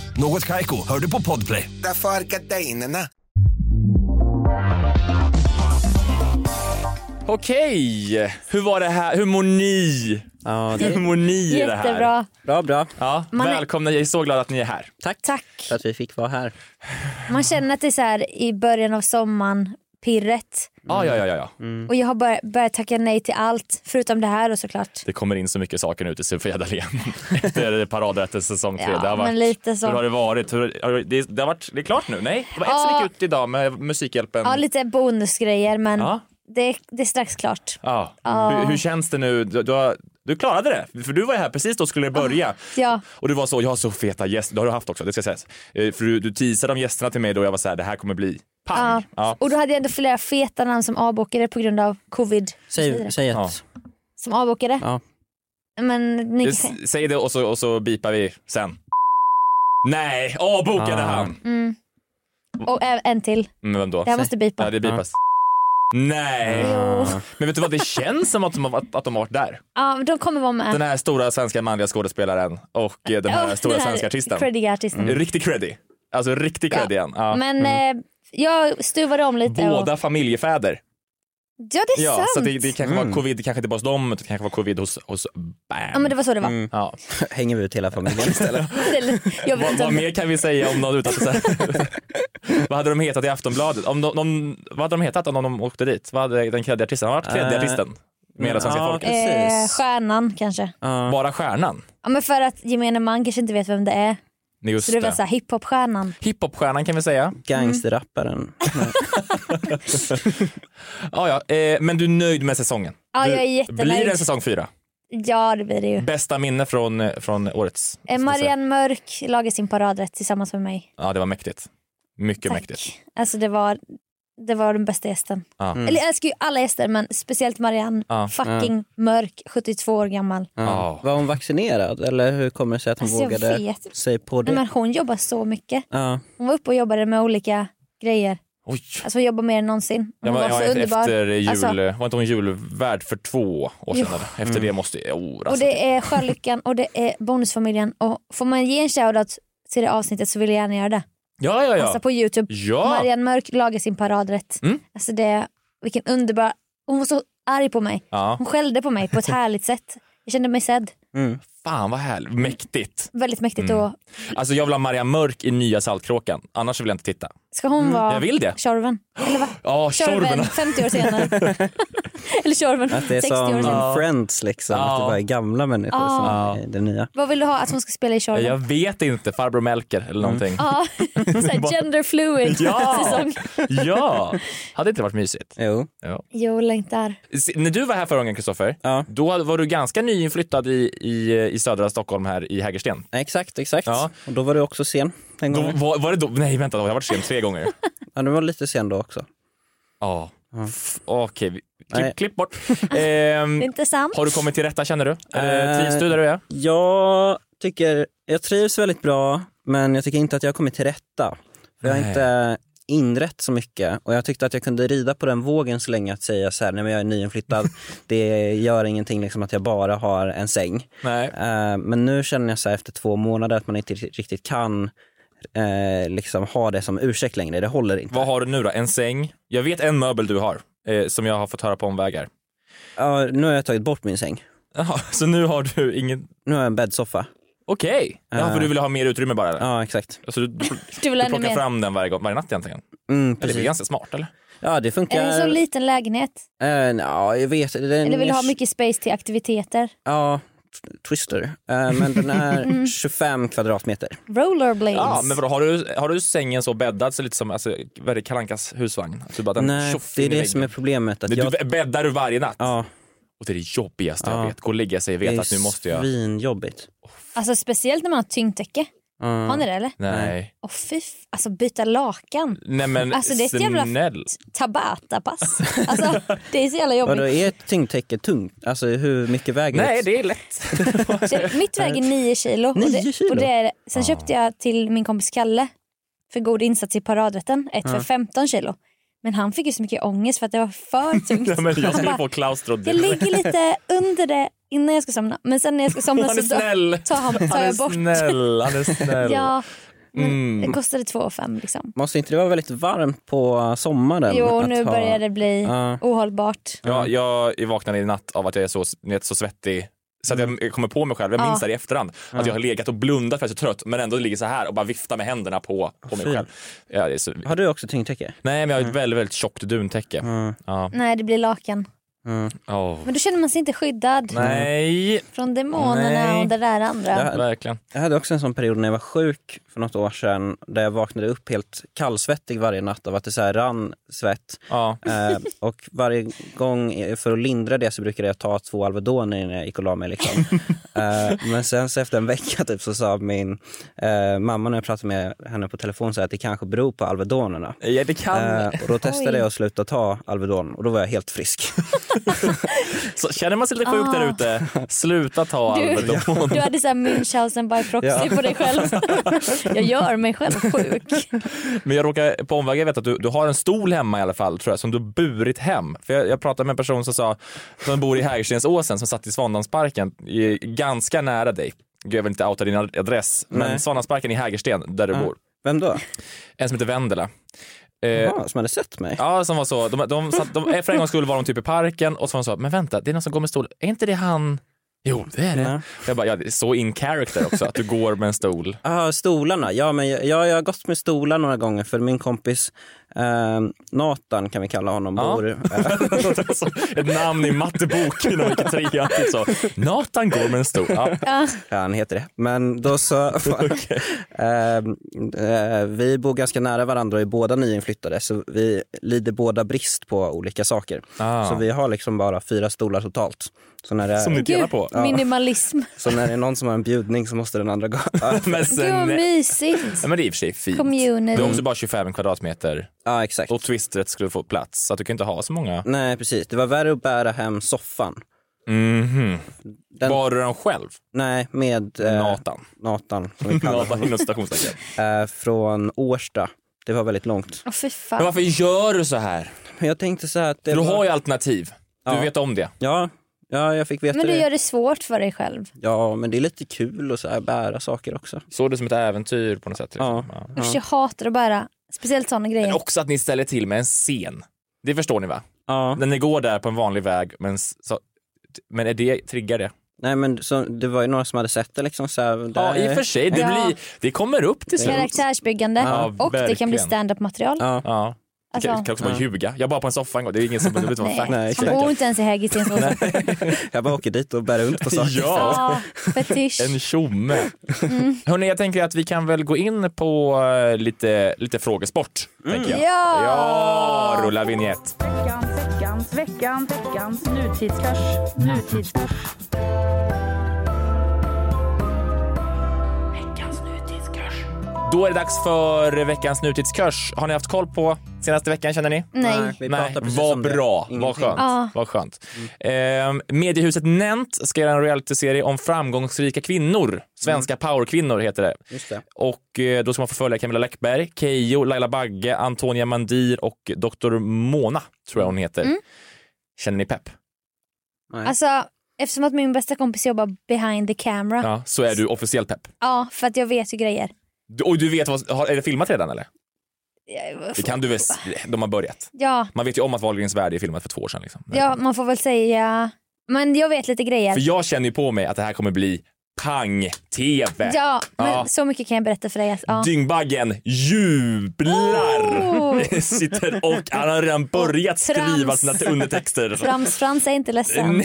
Speaker 9: Något Kaiko, hör du på Podplay.
Speaker 10: Därför är gardinerna.
Speaker 5: Okej, hur var det här? Hur mår ni?
Speaker 7: Ja, det
Speaker 5: Hur mår ni i det här?
Speaker 8: Jättebra.
Speaker 7: bra, bra.
Speaker 5: Ja,
Speaker 8: Man är-
Speaker 5: välkomna, jag är så glad att ni är här.
Speaker 7: Tack.
Speaker 8: Tack.
Speaker 7: för att vi fick vara här.
Speaker 8: Man känner att det är så här i början av sommaren, pirret.
Speaker 5: Ja, ja, ja, ja, ja.
Speaker 7: Mm.
Speaker 8: Och jag har börjat, börjat tacka nej till allt, förutom det här och såklart.
Speaker 5: Det kommer in så mycket saker nu till Sofia Dalén efter paradrättens säsong tre.
Speaker 8: Ja,
Speaker 5: det, har
Speaker 8: men
Speaker 5: varit,
Speaker 8: lite så.
Speaker 5: Hur har det varit? Hur, har det- det, det, har varit det är klart nu, nej? Det var ett som
Speaker 8: Ja.
Speaker 5: gick ut idag med Musikhjälpen.
Speaker 8: Ja, lite bonusgrejer men
Speaker 5: Mm. Ja.
Speaker 8: det, det är strax klart.
Speaker 5: Ja. Hur, hur känns det nu? Du, du, har, du klarade det, för du var ju här precis då skulle det börja.
Speaker 8: Ja.
Speaker 5: Och du var så, jag har så feta gäster, det har du haft också, det ska sägas. Eh, För du, du teasade om gästerna till mig då jag var så här, det här kommer bli
Speaker 8: Ja.
Speaker 5: pang. Ja.
Speaker 8: Och då hade jag ändå flera feta namn som avbokade på grund av covid.
Speaker 7: Säg, säg
Speaker 5: Ja.
Speaker 7: att...
Speaker 8: Som avbokade.
Speaker 7: Ja.
Speaker 8: Men ni
Speaker 5: S- Säg det och så, och så bipar vi sen. Nej, avbokade
Speaker 7: Ah.
Speaker 5: han.
Speaker 8: Och ä- en till.
Speaker 5: Men vem då?
Speaker 8: Det här måste
Speaker 5: Ja,
Speaker 8: bipa.
Speaker 5: det bipas. Nej. Men vet du vad, det känns som att de har, att de har varit där.
Speaker 8: Ja, men de kommer vara med.
Speaker 5: Den här stora svenska manliga skådespelaren och eh, den här
Speaker 8: Ja,
Speaker 5: stora
Speaker 8: den här
Speaker 5: svenska artisten.
Speaker 8: Creddiga artisten.
Speaker 5: Riktig creddy. Alltså riktig creddy igen. Ja. Mm.
Speaker 8: Men eh, jag stuvade om lite.
Speaker 5: Båda
Speaker 8: Och...
Speaker 5: familjefäder.
Speaker 8: Ja, det är
Speaker 5: Ja,
Speaker 8: sant.
Speaker 5: så det, det kanske
Speaker 7: Mm.
Speaker 5: var covid, det kanske inte bara hos dem, utan det kanske var covid hos, hos BAM.
Speaker 8: Ja, men det var så det var.
Speaker 5: Ja.
Speaker 7: Hänger vi ut hela familjen istället?
Speaker 8: Jag vet
Speaker 5: Vad,
Speaker 8: inte
Speaker 5: vad
Speaker 8: om...
Speaker 5: mer kan vi säga om någon utan att säga? Vad hade de hetat i Aftonbladet? Om de, om, vad hade de hetat om de åkte dit? Vad hade den kreddiga artisten? Vad hade varit kreddiga
Speaker 7: Eh,
Speaker 5: artisten? Med hela svenska
Speaker 7: ja, eh.
Speaker 5: folket.
Speaker 8: Eh,
Speaker 7: Precis.
Speaker 8: stjärnan kanske.
Speaker 5: Bara stjärnan?
Speaker 8: Ja, men för att gemene man kanske inte vet vem det är.
Speaker 5: Just
Speaker 8: så det var
Speaker 5: det.
Speaker 8: så här hiphopstjärnan.
Speaker 5: Hiphopstjärnan kan vi säga.
Speaker 7: Gangsterrapparen.
Speaker 5: Ja, ja. Eh, men du är nöjd med säsongen?
Speaker 8: Ja,
Speaker 5: du,
Speaker 8: jag är jättenöjd.
Speaker 5: Blir det säsong fyra?
Speaker 8: Ja det blir det ju.
Speaker 5: Bästa minne från, eh, från årets?
Speaker 8: Eh, Marianne Mörk lagade sin paradrätt tillsammans med mig.
Speaker 5: Ja, det var mäktigt. Mycket
Speaker 8: Tack.
Speaker 5: mäktigt.
Speaker 8: Alltså det var, det var den bästa gästen.
Speaker 5: Ja.
Speaker 7: Mm.
Speaker 8: Eller jag älskar ju alla gäster men speciellt Marianne,
Speaker 5: Ja.
Speaker 8: fucking mörk, 72 år gammal.
Speaker 7: Ja.
Speaker 5: Ja.
Speaker 7: Var hon vaccinerad eller hur kommer det sig att hon
Speaker 8: Alltså, jag
Speaker 7: vågade
Speaker 8: vet.
Speaker 7: sig på det?
Speaker 8: Nej, men hon jobbar så mycket.
Speaker 7: Ja.
Speaker 8: Hon var uppe och jobbade med olika grejer.
Speaker 5: Oj.
Speaker 8: Alltså hon jobbar mer än någonsin. Hon
Speaker 5: Ja, men,
Speaker 8: var
Speaker 5: ja,
Speaker 8: så underbar.
Speaker 5: efter jul, eh,
Speaker 8: Alltså,
Speaker 5: var inte hon julvärd för två år sedan?
Speaker 8: Jo.
Speaker 5: Eller? Efter det måste jag... Oh,
Speaker 8: och
Speaker 5: alltså.
Speaker 8: det är Sjölyckan och det är Bonusfamiljen. Och får man ge en shoutout till det avsnittet så vill jag gärna göra det.
Speaker 5: Ja, ja,
Speaker 8: Passa
Speaker 5: ja.
Speaker 8: på Youtube.
Speaker 5: Ja.
Speaker 8: Marianne Mörk lagar sin paradrätt.
Speaker 5: Mm.
Speaker 8: Alltså det, vilken underbar... Hon var så arg på mig.
Speaker 5: ja.
Speaker 8: Hon skällde på mig på ett härligt sätt. Jag kände mig sedd.
Speaker 5: Fan vad härligt. Mäktigt.
Speaker 8: Väldigt mäktigt. Och
Speaker 5: Alltså jag vill ha Maria Mörk i nya Saltkråkan. Annars vill jag inte titta.
Speaker 8: ska hon vara
Speaker 5: Mm, Jag vill det.
Speaker 8: Tjorven? Eller va?
Speaker 5: Ja, Tjorven.
Speaker 8: Tjorven 50 år senare. Eller Tjorven
Speaker 7: Att det
Speaker 8: 60
Speaker 7: är
Speaker 8: år
Speaker 7: som
Speaker 8: senare.
Speaker 7: Friends liksom,
Speaker 5: Ja.
Speaker 7: att det bara är gamla människor
Speaker 8: Ja.
Speaker 7: som är det nya.
Speaker 8: Vad vill du ha att hon ska spela i Tjorven?
Speaker 5: Jag vet inte. Farbror Melker eller någonting.
Speaker 8: Mm. Ja, såhär gender fluid
Speaker 5: Ja.
Speaker 8: säsong.
Speaker 5: Ja! Hade inte det varit mysigt?
Speaker 7: Jo.
Speaker 8: Jo, längtar.
Speaker 5: Se- När du var här förra gången Kristoffer,
Speaker 7: Ja.
Speaker 5: då var du ganska nyinflyttad i, i, i södra Stockholm här i Hägersten.
Speaker 7: Exakt, exakt.
Speaker 5: Ja.
Speaker 7: Och då var du också sen den
Speaker 5: Då,
Speaker 7: gången.
Speaker 5: var, var det då? Nej vänta, jag har varit sen tre gånger.
Speaker 7: Ja, du var lite sen då också.
Speaker 5: Ja. F- Okej, vi-
Speaker 7: Nej.
Speaker 5: klipp, klipp bort. Ehm,
Speaker 8: Inte sant?
Speaker 5: har du kommit till rätta känner du? Är det-
Speaker 7: Eh.
Speaker 5: Trivs du där du är?
Speaker 7: Jag tycker, jag trivs väldigt bra men jag tycker inte att jag har kommit till rätta. För jag har
Speaker 5: Nej.
Speaker 7: inte inrett så mycket och jag tyckte att jag kunde rida på den vågen så länge att säga så här, nej men jag är nyinflyttad, det gör ingenting liksom att jag bara har en säng.
Speaker 5: Nej.
Speaker 7: Eh, men nu känner jag så här efter två månader att man inte riktigt kan eh, liksom ha det som ursäkt längre, det håller inte.
Speaker 5: Vad har du nu då? En säng? Jag vet en möbel du har eh, som jag har fått höra på omvägar.
Speaker 7: Ja, nu har jag tagit bort min säng,
Speaker 5: Jaha, så nu har du ingen...
Speaker 7: nu har jag en bäddsoffa.
Speaker 5: Okej, ja,
Speaker 7: Eh.
Speaker 5: för du vill ha mer utrymme bara? Eller?
Speaker 7: Ja exakt.
Speaker 5: Alltså, du, du,
Speaker 8: Du vill
Speaker 5: du
Speaker 8: ännu
Speaker 5: plockar
Speaker 8: mer.
Speaker 5: fram den varje, gång, varje natt egentligen?
Speaker 7: Mm,
Speaker 5: Eller det är
Speaker 7: precis.
Speaker 5: ganska smart eller?
Speaker 7: Ja det funkar.
Speaker 8: Är det en så liten lägenhet?
Speaker 7: Eh, nja, jag vet. Den,
Speaker 8: Eller vill du
Speaker 7: jag
Speaker 8: ha mycket space till aktiviteter?
Speaker 7: Ja, t- Twister. Eh, men den
Speaker 8: Mm.
Speaker 7: är 25 kvadratmeter.
Speaker 8: Rollerblades?
Speaker 5: Ja, men vadå, har, du, har du sängen så bäddad så lite som alltså, vad är det, Kalankas husvagn? Att du bara, den
Speaker 7: Nej,
Speaker 5: tjoff
Speaker 7: det är
Speaker 5: in i
Speaker 7: det
Speaker 5: väggen.
Speaker 7: som är problemet. Att
Speaker 5: Du-
Speaker 7: jag,
Speaker 5: Du bäddar du varje natt?
Speaker 7: ja,
Speaker 5: Och det är det jobbigaste jag
Speaker 7: Ja.
Speaker 5: vet. Gå och lägga sig och
Speaker 7: det
Speaker 5: veta att nu måste
Speaker 7: är
Speaker 5: jag...
Speaker 7: svinjobbigt.
Speaker 8: Alltså speciellt när man har tyngdtäcke.
Speaker 7: Mm.
Speaker 8: Har ni det eller?
Speaker 5: Nej.
Speaker 8: Åh fy, f- alltså byta lakan.
Speaker 5: Nej men
Speaker 8: Alltså, det är ett jävla-
Speaker 5: snäll.
Speaker 8: Tabata-pass. Alltså det är så jävla
Speaker 7: Vadå,
Speaker 8: jobbigt.
Speaker 7: är tyngdtäcke tungt? Alltså hur mycket väger
Speaker 5: Nej
Speaker 7: ett-
Speaker 5: det är lätt.
Speaker 8: Det, mitt väger 9 kilo. Och
Speaker 7: Äh, Nio
Speaker 8: det,
Speaker 7: kilo?
Speaker 8: och det är, sen köpte jag till min kompis Kalle för god insats i paradrätten, ett för 15 kilo. Men han fick ju så mycket ångest för att det var för tungt.
Speaker 5: Nej, men jag
Speaker 8: han
Speaker 5: skulle
Speaker 8: Alltså, bara,
Speaker 5: få klaustro
Speaker 8: jag
Speaker 5: direkt.
Speaker 8: ligger lite under det innan jag ska somna. Men sen när jag ska somna
Speaker 5: Han är
Speaker 8: så tar,
Speaker 5: snäll.
Speaker 8: tar, han, tar
Speaker 5: Han är
Speaker 8: jag bort.
Speaker 5: snäll. Han är snäll.
Speaker 8: Ja, men
Speaker 5: Mm.
Speaker 8: Det kostade 2 5 liksom.
Speaker 7: Måste inte det vara väldigt varmt på sommaren?
Speaker 8: Jo,
Speaker 7: att
Speaker 8: nu
Speaker 7: ha-
Speaker 8: börjar det bli
Speaker 7: Ja.
Speaker 8: ohållbart.
Speaker 5: Ja, jag vaknade i natt av att jag är så, ni vet, så svettig så att jag kommer på mig själv, jag minns
Speaker 8: Ja.
Speaker 5: det här i efterhand, att jag har legat och blundat för att jag är så trött men ändå ligger så här och bara viftar med händerna på, på mig
Speaker 7: Fy.
Speaker 5: själv. Ja, det är så...
Speaker 7: Har du också tyngdtäcke?
Speaker 5: Nej men jag har ett väldigt, väldigt tjockt duntäcke.
Speaker 7: Mm.
Speaker 5: Ja.
Speaker 8: Nej, det blir lakan.
Speaker 5: Åh.
Speaker 8: Men då känner man sig inte skyddad
Speaker 5: Nej,
Speaker 8: från demonerna
Speaker 5: Nej.
Speaker 8: och det där andra.
Speaker 7: Ja.
Speaker 5: verkligen.
Speaker 7: Jag hade också en sån period när jag var sjuk för något år sedan där jag vaknade upp helt kallsvettig varje natt av att det så här rann svett.
Speaker 5: Ja.
Speaker 7: Eh, och varje gång, eh, för att lindra det så brukade jag ta två Alvedon innan jag gick och la mig. Liksom. Eh, men sen så efter en vecka typ, så sa min eh, mamma när jag pratade med henne på telefon så här, att det kanske beror på Alvedonerna.
Speaker 5: ja, det kan.
Speaker 7: Eh, och då testade
Speaker 8: Oj.
Speaker 7: jag att sluta ta Alvedon och då var jag helt frisk.
Speaker 5: Så känner man sig lite sjuk
Speaker 8: Ah.
Speaker 5: där ute, sluta ta
Speaker 8: Du-
Speaker 5: Alvedon.
Speaker 8: Du hade så här Münchhausen by proxy
Speaker 7: Ja.
Speaker 8: på dig själv. Jag gör mig själv sjuk.
Speaker 5: Men jag råkar på omvägar veta att du, du har en stol hemma i alla fall tror jag som du har burit hem. För jag, jag pratade med en person som sa som bor i Hägerstensåsen som satt i Svandansparken i- ganska nära dig. Gud, jag vill inte outa din ad- adress, men
Speaker 7: Nej.
Speaker 5: Svandansparken i Hägersten där du
Speaker 7: Ja.
Speaker 5: bor.
Speaker 7: Vem då?
Speaker 5: Eh, En som heter Vendela. Eh,
Speaker 7: Jaha, som hade sett mig?
Speaker 5: ja, som var så. De, de, satt, de, för en gång skulle var de typ i parken och så var de så, men vänta, det är någon som går med stol. Är inte det han? Jo, det är det.
Speaker 7: Ja.
Speaker 5: Jag bara, ja, det är så in character också att du går med en stol.
Speaker 7: Ah, stolarna. Ja, men jag, jag har gått med stolar några gånger för min kompis Eh, Nathan kan vi kalla honom,
Speaker 5: Ja.
Speaker 7: bor... eh,
Speaker 5: Alltså, Ett namn i matteboken och vilken trea. Typ så. Nathan går med en stor. Ja.
Speaker 7: Ja, han heter det. Men då så... Ehm, eh, vi bor ganska nära varandra och är båda nyinflyttade så vi lider båda brist på olika saker.
Speaker 5: Ah.
Speaker 7: Så vi har liksom bara fyra stolar totalt. Så när det
Speaker 5: Som
Speaker 7: är,
Speaker 5: ni delar på.
Speaker 8: minimalism.
Speaker 7: så när det är någon som har en bjudning så måste den andra gå.
Speaker 5: Men
Speaker 8: Gud vad
Speaker 5: sen, nej,
Speaker 8: mysigt.
Speaker 5: men det är i och för sig fint.
Speaker 8: Community.
Speaker 5: Det är också bara 25 kvadratmeter
Speaker 7: ja, exakt.
Speaker 5: och twistret skulle få plats så att du kan inte ha så många.
Speaker 7: Nej, precis. Det var värre att bära hem soffan.
Speaker 5: Mhm.
Speaker 7: Den-
Speaker 5: Bar du den själv?
Speaker 7: Nej, med eh,
Speaker 5: Nathan.
Speaker 7: Nathan, som vi kallar
Speaker 5: Nathan
Speaker 7: honom,
Speaker 5: inom citationstecken.
Speaker 7: eh, från Årsta. Det var väldigt långt.
Speaker 8: Åh fy
Speaker 5: Men
Speaker 8: fan.
Speaker 5: varför gör du så här?
Speaker 7: Men jag tänkte så här att... Det
Speaker 5: Du
Speaker 7: var...
Speaker 5: har ju alternativ. Du
Speaker 7: Ja.
Speaker 5: vet om det.
Speaker 7: ja, ja, jag fick veta
Speaker 8: Men du
Speaker 7: det.
Speaker 8: gör det svårt för dig själv.
Speaker 7: Ja, men det är lite kul att så här bära saker också.
Speaker 5: Såg det som ett äventyr på något sätt. Liksom. Ja.
Speaker 8: Usch, jag hatar att bära speciellt sådana
Speaker 5: Men
Speaker 8: grejer.
Speaker 5: också att ni ställer till med en scen. Det förstår ni va?
Speaker 7: Ja.
Speaker 5: När ni går där på en vanlig väg, men, s- så, men är det, triggar det?
Speaker 7: Nej, men så, det var ju några som hade sett det liksom. Så här,
Speaker 5: Ja,
Speaker 7: där-
Speaker 5: i och för sig. Det,
Speaker 8: Ja.
Speaker 5: blir, det kommer upp till slut.
Speaker 8: Karaktärsbyggande
Speaker 5: Ja,
Speaker 8: och det kan bli
Speaker 5: verkligen.
Speaker 8: stand-up material.
Speaker 7: Ja.
Speaker 5: Ja. Du kan,
Speaker 8: Alltså,
Speaker 5: du kan också bara ljuga. Jag var på en soffa en gång. Det är ingen som behöver vara fact.
Speaker 7: Nej,
Speaker 8: han
Speaker 7: exakt.
Speaker 8: bor inte ens i Hägersten.
Speaker 7: Jag bara åker dit och bär runt på saker.
Speaker 5: Ja,
Speaker 8: Ja, fetisch.
Speaker 5: en tjomme.
Speaker 8: Mm.
Speaker 5: Hörni, jag tänker att vi kan väl gå in på eh, lite, lite frågesport. Tänker jag.
Speaker 8: Mm. Ja!
Speaker 5: ja, rulla vignett.
Speaker 6: Veckans, veckans, veckans nutidskurs. Nutidskurs.
Speaker 5: Då är det dags för veckans nutidskurs. Har ni haft koll på senaste veckan känner ni?
Speaker 8: Nej.
Speaker 7: Vi
Speaker 5: Nej,
Speaker 7: pratar precis
Speaker 5: vad
Speaker 7: om det.
Speaker 5: bra, vad
Speaker 7: Ingenting. Mm.
Speaker 5: skönt.
Speaker 8: Ja.
Speaker 5: Vad skönt. Ehm, mediehuset Nent ska göra en realityserie om framgångsrika kvinnor.
Speaker 7: Mm.
Speaker 5: Svenska powerkvinnor heter det.
Speaker 7: Just det.
Speaker 5: Och eh, då ska man få följa Camilla Läckberg, Keyyo, Laila Bagge, Antonia Mandir och Dr. Mona, tror jag hon heter.
Speaker 8: Mm.
Speaker 5: Känner ni pepp?
Speaker 8: Alltså, eftersom att min bästa kompis jobbar behind the camera. Ja,
Speaker 5: Ja, så är du officiellt pepp.
Speaker 8: för att jag vet ju grejer.
Speaker 5: Du, och du vet, vad, har, är det filmat redan eller?
Speaker 8: Ja,
Speaker 5: Det kan du väl, s- de har börjat.
Speaker 8: Ja,
Speaker 5: Man vet ju om att Wahlgrens värld är filmat för två år sedan. Liksom.
Speaker 8: ja, man får väl säga... Men jag vet lite grejer.
Speaker 5: För jag känner ju på mig att det här kommer bli pang-tv.
Speaker 8: Ja, men
Speaker 5: Ja.
Speaker 8: så mycket kan jag berätta för dig. att- Ja.
Speaker 5: Dyngbaggen jublar!
Speaker 8: Oh!
Speaker 5: Sitter och han har redan börjat
Speaker 8: Trams.
Speaker 5: skriva sina undertexter.
Speaker 8: Frams-Frans är inte ledsen.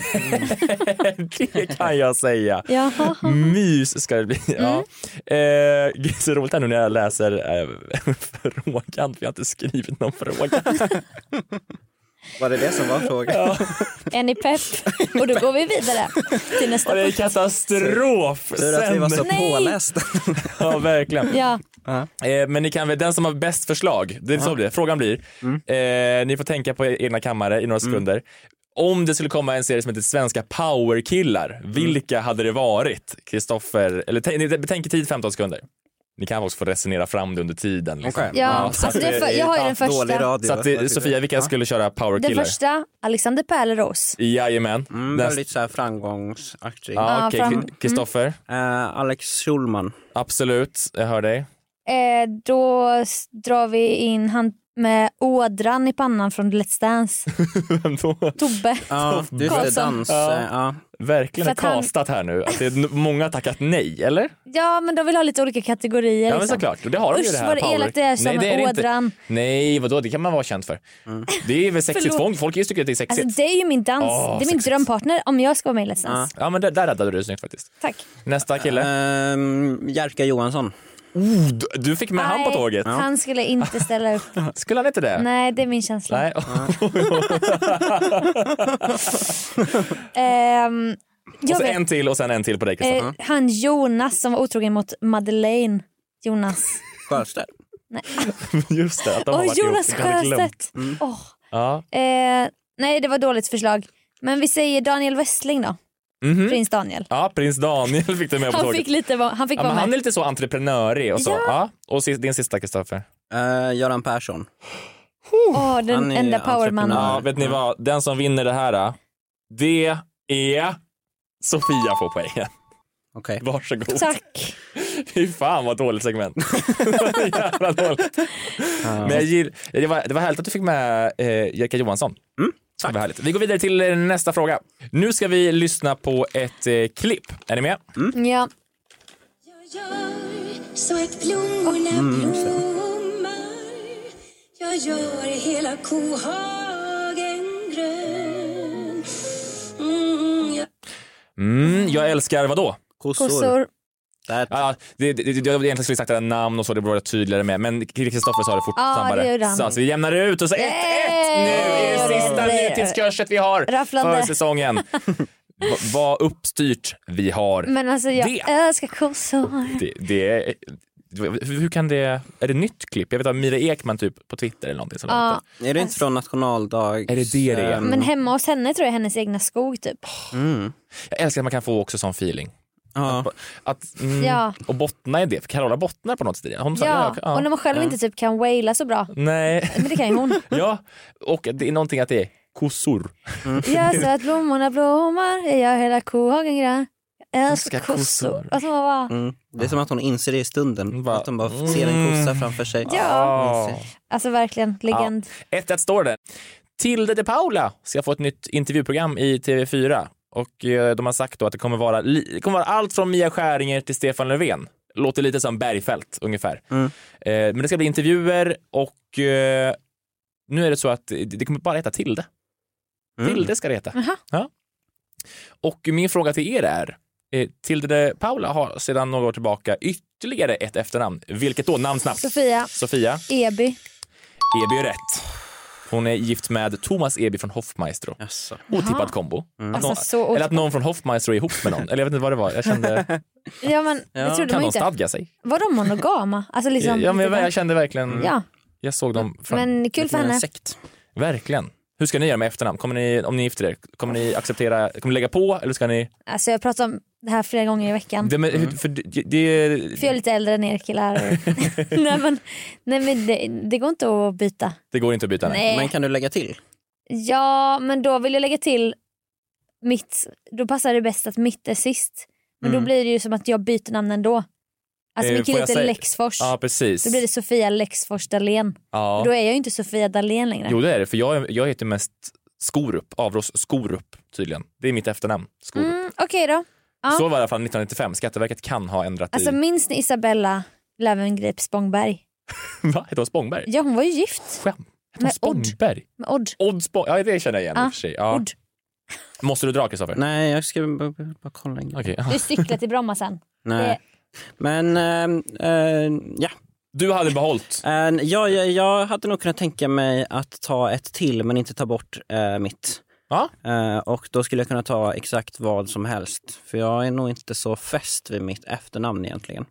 Speaker 5: det kan jag säga.
Speaker 8: Jaha. Mm.
Speaker 5: Mys ska det bli. Ja. Eh, det är så roligt här nu när jag läser eh, frågan, för jag har inte skrivit någon fråga.
Speaker 7: Var det det som var frågan?
Speaker 8: Är ni pepp? Och då går vi vidare till nästa.
Speaker 5: Och det är katastrof!
Speaker 7: Tur att vi var så
Speaker 5: Sen-
Speaker 8: Nej.
Speaker 7: pålästa.
Speaker 5: Ja, verkligen.
Speaker 8: Ja,
Speaker 5: Eh, men ni kan väl, den som har bäst förslag, det är så blir. frågan blir,
Speaker 7: Mm.
Speaker 5: eh, ni får tänka på er egna kammare i några sekunder. Om det skulle komma en serie som heter Svenska powerkillar,
Speaker 7: Mm.
Speaker 5: vilka hade det varit? Kristoffer, eller tänk- ni- tänk i tid 15 sekunder. Ni kan också få resonera fram det under tiden. Liksom.
Speaker 7: Okej.
Speaker 8: ja.
Speaker 5: Ja, så
Speaker 8: alltså,
Speaker 5: att
Speaker 8: det,
Speaker 5: det
Speaker 8: är för- jag har ju den
Speaker 7: Dålig
Speaker 8: första.
Speaker 7: radio.
Speaker 5: Så att, eh, Sofia, vilka skulle köra
Speaker 8: Den
Speaker 5: powerkillar?
Speaker 8: första, Alexander Pärleros.
Speaker 5: Jajamän.
Speaker 7: Mm,
Speaker 5: Näst-
Speaker 7: väldigt så här framgångsaktig.
Speaker 5: Ja,
Speaker 8: Ja,
Speaker 5: okej.
Speaker 8: fram- mm.
Speaker 5: Kri- Kristoffer,
Speaker 7: Eh, Alex Schulman.
Speaker 5: absolut, jag hör dig.
Speaker 8: Eh, då s- drar vi in han med ådran i pannan från Let's Dance.
Speaker 5: Vem då?
Speaker 8: Tobbe.
Speaker 7: Ja, du är
Speaker 8: Karlsson.
Speaker 7: det dans.
Speaker 5: Ja.
Speaker 7: eh, Ja.
Speaker 5: Verkligen
Speaker 8: För att han-
Speaker 5: kastat här nu. Att det är n- många har tackat nej, eller?
Speaker 8: Ja, men de vill ha lite olika kategorier.
Speaker 5: Ja men
Speaker 8: liksom.
Speaker 5: såklart, och det har de ju
Speaker 8: Usch,
Speaker 5: det här
Speaker 8: vad det
Speaker 5: power-
Speaker 8: elakt det är som en
Speaker 5: det
Speaker 8: ådran.
Speaker 5: Inte. Nej vadå, det kan man vara känd för. Det är väl sexigt,
Speaker 8: Förlåt.
Speaker 5: folk, folk tycker att det är sexigt.
Speaker 8: Alltså, det är ju min dans.
Speaker 5: Åh,
Speaker 8: det är min
Speaker 5: sexigt.
Speaker 8: drömpartner om jag ska vara med i Let's Dance.
Speaker 5: Ja men där, där räddade du det snyggt faktiskt.
Speaker 8: Tack.
Speaker 5: Nästa kille.
Speaker 7: Ehm, Jerka Johansson.
Speaker 5: Du, du fick med han på
Speaker 8: Nej,
Speaker 5: tåget.
Speaker 8: Han skulle inte ställa upp.
Speaker 5: Skulle han inte det?
Speaker 8: Nej, det är min känsla.
Speaker 5: Nej.
Speaker 8: Ehm,
Speaker 5: och
Speaker 8: jag
Speaker 5: så
Speaker 8: vet,
Speaker 5: en till och sen en till liksom. på dig Kristoffer.
Speaker 8: eh, han Jonas som var otrogen mot Madeleine. Jonas.
Speaker 7: Sjöstedt.
Speaker 5: Just det, att de har
Speaker 8: Åh,
Speaker 5: varit
Speaker 8: Eh, Jonas
Speaker 5: ihop. Jag hade glömt. Mm.
Speaker 8: Sjöstedt! Åh,
Speaker 5: Ja.
Speaker 8: eh, nej, det var dåligt förslag. Men vi säger Daniel Westling då.
Speaker 5: Mhm.
Speaker 8: Prins Daniel.
Speaker 5: ja, prins Daniel fick du med på
Speaker 8: Han
Speaker 5: tåget.
Speaker 8: fick, lite, va- han fick
Speaker 5: ja,
Speaker 8: vara
Speaker 5: men han är
Speaker 8: med.
Speaker 5: lite så entreprenörig och så. Ja.
Speaker 8: Ja.
Speaker 5: Och si- din sista Kristoffer.
Speaker 7: Eh, Göran Persson.
Speaker 8: Åh, den
Speaker 7: han är
Speaker 8: enda powermannen.
Speaker 7: entreprenör.
Speaker 5: Ja, vet ni vad? Den som vinner det här, äh, det är Sofia får poängen.
Speaker 7: Okej.
Speaker 5: Varsågod.
Speaker 8: Tack.
Speaker 5: Fy fan vad dåligt segment. Jävla dåligt. Men jag gill, det, var, det var härligt att du fick med eh, Jerka Johansson.
Speaker 8: Mm,
Speaker 5: Det var härligt. Vi går vidare till eh, nästa fråga. Nu ska vi lyssna på ett eh, klipp. Är ni med?
Speaker 8: Ja.
Speaker 11: Så att blommorna blommar Jag gör hela kohagen grön mm, jag...
Speaker 5: Mm, jag älskar vadå?
Speaker 7: Kossor. Kossor.
Speaker 5: Ja, det, det, det, jag hade egentligen skulle sagt alla namn och så, det borde vara tydligare med. Men Kristoffer sa det fort
Speaker 8: Ja, det
Speaker 5: snabbare.
Speaker 8: gjorde han.
Speaker 5: Så, så vi jämnar ut och så 1-1 nu är det sista nytidskurset vi har
Speaker 8: Rafflande.
Speaker 5: för säsongen. Va- Vad uppstyrt vi har.
Speaker 8: Men alltså jag
Speaker 5: Det.
Speaker 8: älskar kossor.
Speaker 5: Det, det är, hur hur kan det, är det nytt klipp? Jag vet att Mira Ekman typ på Twitter eller någonting. som
Speaker 8: Ja.
Speaker 5: la ut
Speaker 7: Är det inte från nationaldags... Mm.
Speaker 5: Är det det det är?
Speaker 8: Men hemma hos henne tror jag hennes egna skog typ.
Speaker 5: Mm. Jag älskar att man kan få också sån feeling. Att, att, mm,
Speaker 8: Ja.
Speaker 5: Och bottna i det. Carola bottnar på något sätt i det. Hon sa,
Speaker 8: Ja,
Speaker 5: ja.
Speaker 8: och när man själv
Speaker 5: Ja.
Speaker 8: inte typ kan waila så bra.
Speaker 5: Nej.
Speaker 8: Men det kan ju hon.
Speaker 5: ja, och det är någonting att det är kossor.
Speaker 8: Jag så att blommorna blommar, jag gör hela kohagen grön. Jag älskar
Speaker 7: Älskar kossor.
Speaker 8: kossor. Alltså man bara,
Speaker 7: Mm. Det är som att hon inser det i stunden. att hon bara ser
Speaker 5: Mm.
Speaker 7: en kossa framför sig.
Speaker 5: Ah.
Speaker 8: Ja.
Speaker 7: Inser.
Speaker 8: alltså verkligen legend.
Speaker 5: 1-1 står det. Tilde de Paula ska få ett nytt intervjuprogram i TV4. Och eh, de har sagt då att det kommer vara, li- det kommer vara allt från Mia Skäringer till Stefan Löfven. Låter lite som Bergfeldt ungefär. Eh, Men det ska bli intervjuer och eh, nu är det så att det- det kommer bara heta Tilde. Tilde ska det heta. Ja. Och min fråga till er är, eh, Tilde de Paula har sedan några år tillbaka ytterligare ett efternamn. Vilket då? Namn snabbt.
Speaker 8: Sofia,
Speaker 5: Sofia.
Speaker 8: Eby.
Speaker 5: Mm. Eby är rätt. Hon är gift med Thomas Eby från Hoffmaestro.
Speaker 8: Jaha.
Speaker 5: Otippad kombo. Att
Speaker 8: Alltså,
Speaker 5: någon,
Speaker 8: så otippat.
Speaker 5: eller att någon från Hoffmaestro är ihop med någon. Eller jag vet inte vad det var. Jag kände,
Speaker 8: Ja men det
Speaker 5: kan
Speaker 8: trodde man ju
Speaker 5: de
Speaker 8: inte.
Speaker 5: stadga sig?
Speaker 8: Var de monogama? Alltså liksom,
Speaker 5: ja, men
Speaker 8: lite
Speaker 5: jag, Mm.
Speaker 8: där.
Speaker 5: jag kände verkligen.
Speaker 8: Ja.
Speaker 5: Jag såg dem. Från,
Speaker 8: Men kul för henne.
Speaker 5: Verkligen. Hur ska ni göra med efternamn? Kommer ni, om ni gifter er, kommer ni acceptera, kommer ni lägga på eller ska ni?
Speaker 8: Alltså jag pratar om det här flera gånger i veckan.
Speaker 5: Det, men, hur- för, det, det,
Speaker 8: För jag är lite äldre än er killar. nej men, nej, men det, det går inte att byta.
Speaker 5: det går inte att byta.
Speaker 8: Nej. Men
Speaker 5: kan du lägga till?
Speaker 8: Ja, men då vill jag lägga till mitt. Då passar det bäst att mitt är sist. Men
Speaker 5: Mm.
Speaker 8: då blir det ju som att jag byter namn ändå. Alltså
Speaker 5: Eh,
Speaker 8: min
Speaker 5: får
Speaker 8: kille
Speaker 5: jag
Speaker 8: heter
Speaker 5: säga-
Speaker 8: Lexfors.
Speaker 5: Ja, precis.
Speaker 8: Då blir det Sofia Lexfors Dahlén.
Speaker 5: Ja.
Speaker 8: Och Då är jag ju inte Sofia Dahlén längre.
Speaker 5: Jo det är det, för jag, jag heter mest Skorup, Avros Skorup tydligen. Det är mitt efternamn. Skorup.
Speaker 8: Mm, Okej då. Ja.
Speaker 5: Så var det i alla fall 1995, Skatteverket kan ha ändrat
Speaker 8: Alltså
Speaker 5: i...
Speaker 8: minns ni Isabella Löwengrip Spångberg?
Speaker 5: Va? Hette hon Spångberg?
Speaker 8: Ja hon var ju gift.
Speaker 5: Skämt.
Speaker 8: Med Odd.
Speaker 5: Spångberg?
Speaker 8: Med Odd.
Speaker 5: Odd Spång... Ja det känner jag igen i
Speaker 8: Ja,
Speaker 5: och för sig. Ja.
Speaker 8: Odd.
Speaker 5: Måste du dra Kristoffer?
Speaker 7: Nej, jag ska bara, bara bara kolla en grej.
Speaker 5: Okej.
Speaker 8: Du cyklar till Bromma sen.
Speaker 7: Nej. Men, ehm, ehm, ja. Ehm,
Speaker 5: Du hade behållit?
Speaker 7: ja, jag, jag hade nog kunnat tänka mig att ta ett till men inte ta bort eh, mitt. Eh,
Speaker 5: Ja.
Speaker 7: och då skulle jag kunna ta exakt vad som helst. För jag är nog inte så fäst vid mitt efternamn egentligen.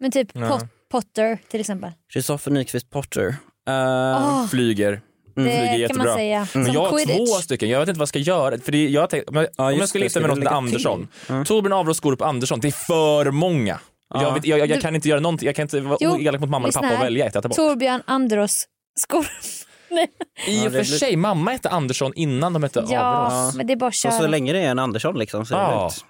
Speaker 8: Men typ
Speaker 7: Nej.
Speaker 8: Pot- Potter till exempel.
Speaker 7: Kristoffer Nyqvist Potter. Eh,
Speaker 8: Ah.
Speaker 5: Flyger.
Speaker 8: Det kan man säga. Mm.
Speaker 5: Men
Speaker 8: Som
Speaker 5: jag har
Speaker 8: Quidditch.
Speaker 5: två stycken, jag vet inte vad jag ska göra. För det, jag har tänkt, om jag, om jag
Speaker 7: just
Speaker 5: skulle
Speaker 7: det,
Speaker 5: gifta
Speaker 7: ska
Speaker 5: mig
Speaker 7: du
Speaker 5: med någon som heter
Speaker 7: lägga till?
Speaker 5: Andersson, Torbjörn Avros Skorup Andersson, det är för många. Jag, vet, jag, jag, jag
Speaker 8: Du-
Speaker 5: kan inte göra någonting, jag kan inte vara
Speaker 8: Jo,
Speaker 5: elak mot mamma eller
Speaker 8: lyssna
Speaker 5: pappa och
Speaker 8: här.
Speaker 5: välja ett. Jag tar bort.
Speaker 8: Torbjörn Andros Skorp. Nej.
Speaker 5: I och för sig, mamma hette Andersson innan de hette
Speaker 8: Ja,
Speaker 5: Avros.
Speaker 8: men det är bara att
Speaker 7: Och så
Speaker 8: köra.
Speaker 7: länge det är en Andersson liksom så är det
Speaker 5: Ja.
Speaker 7: lugnt.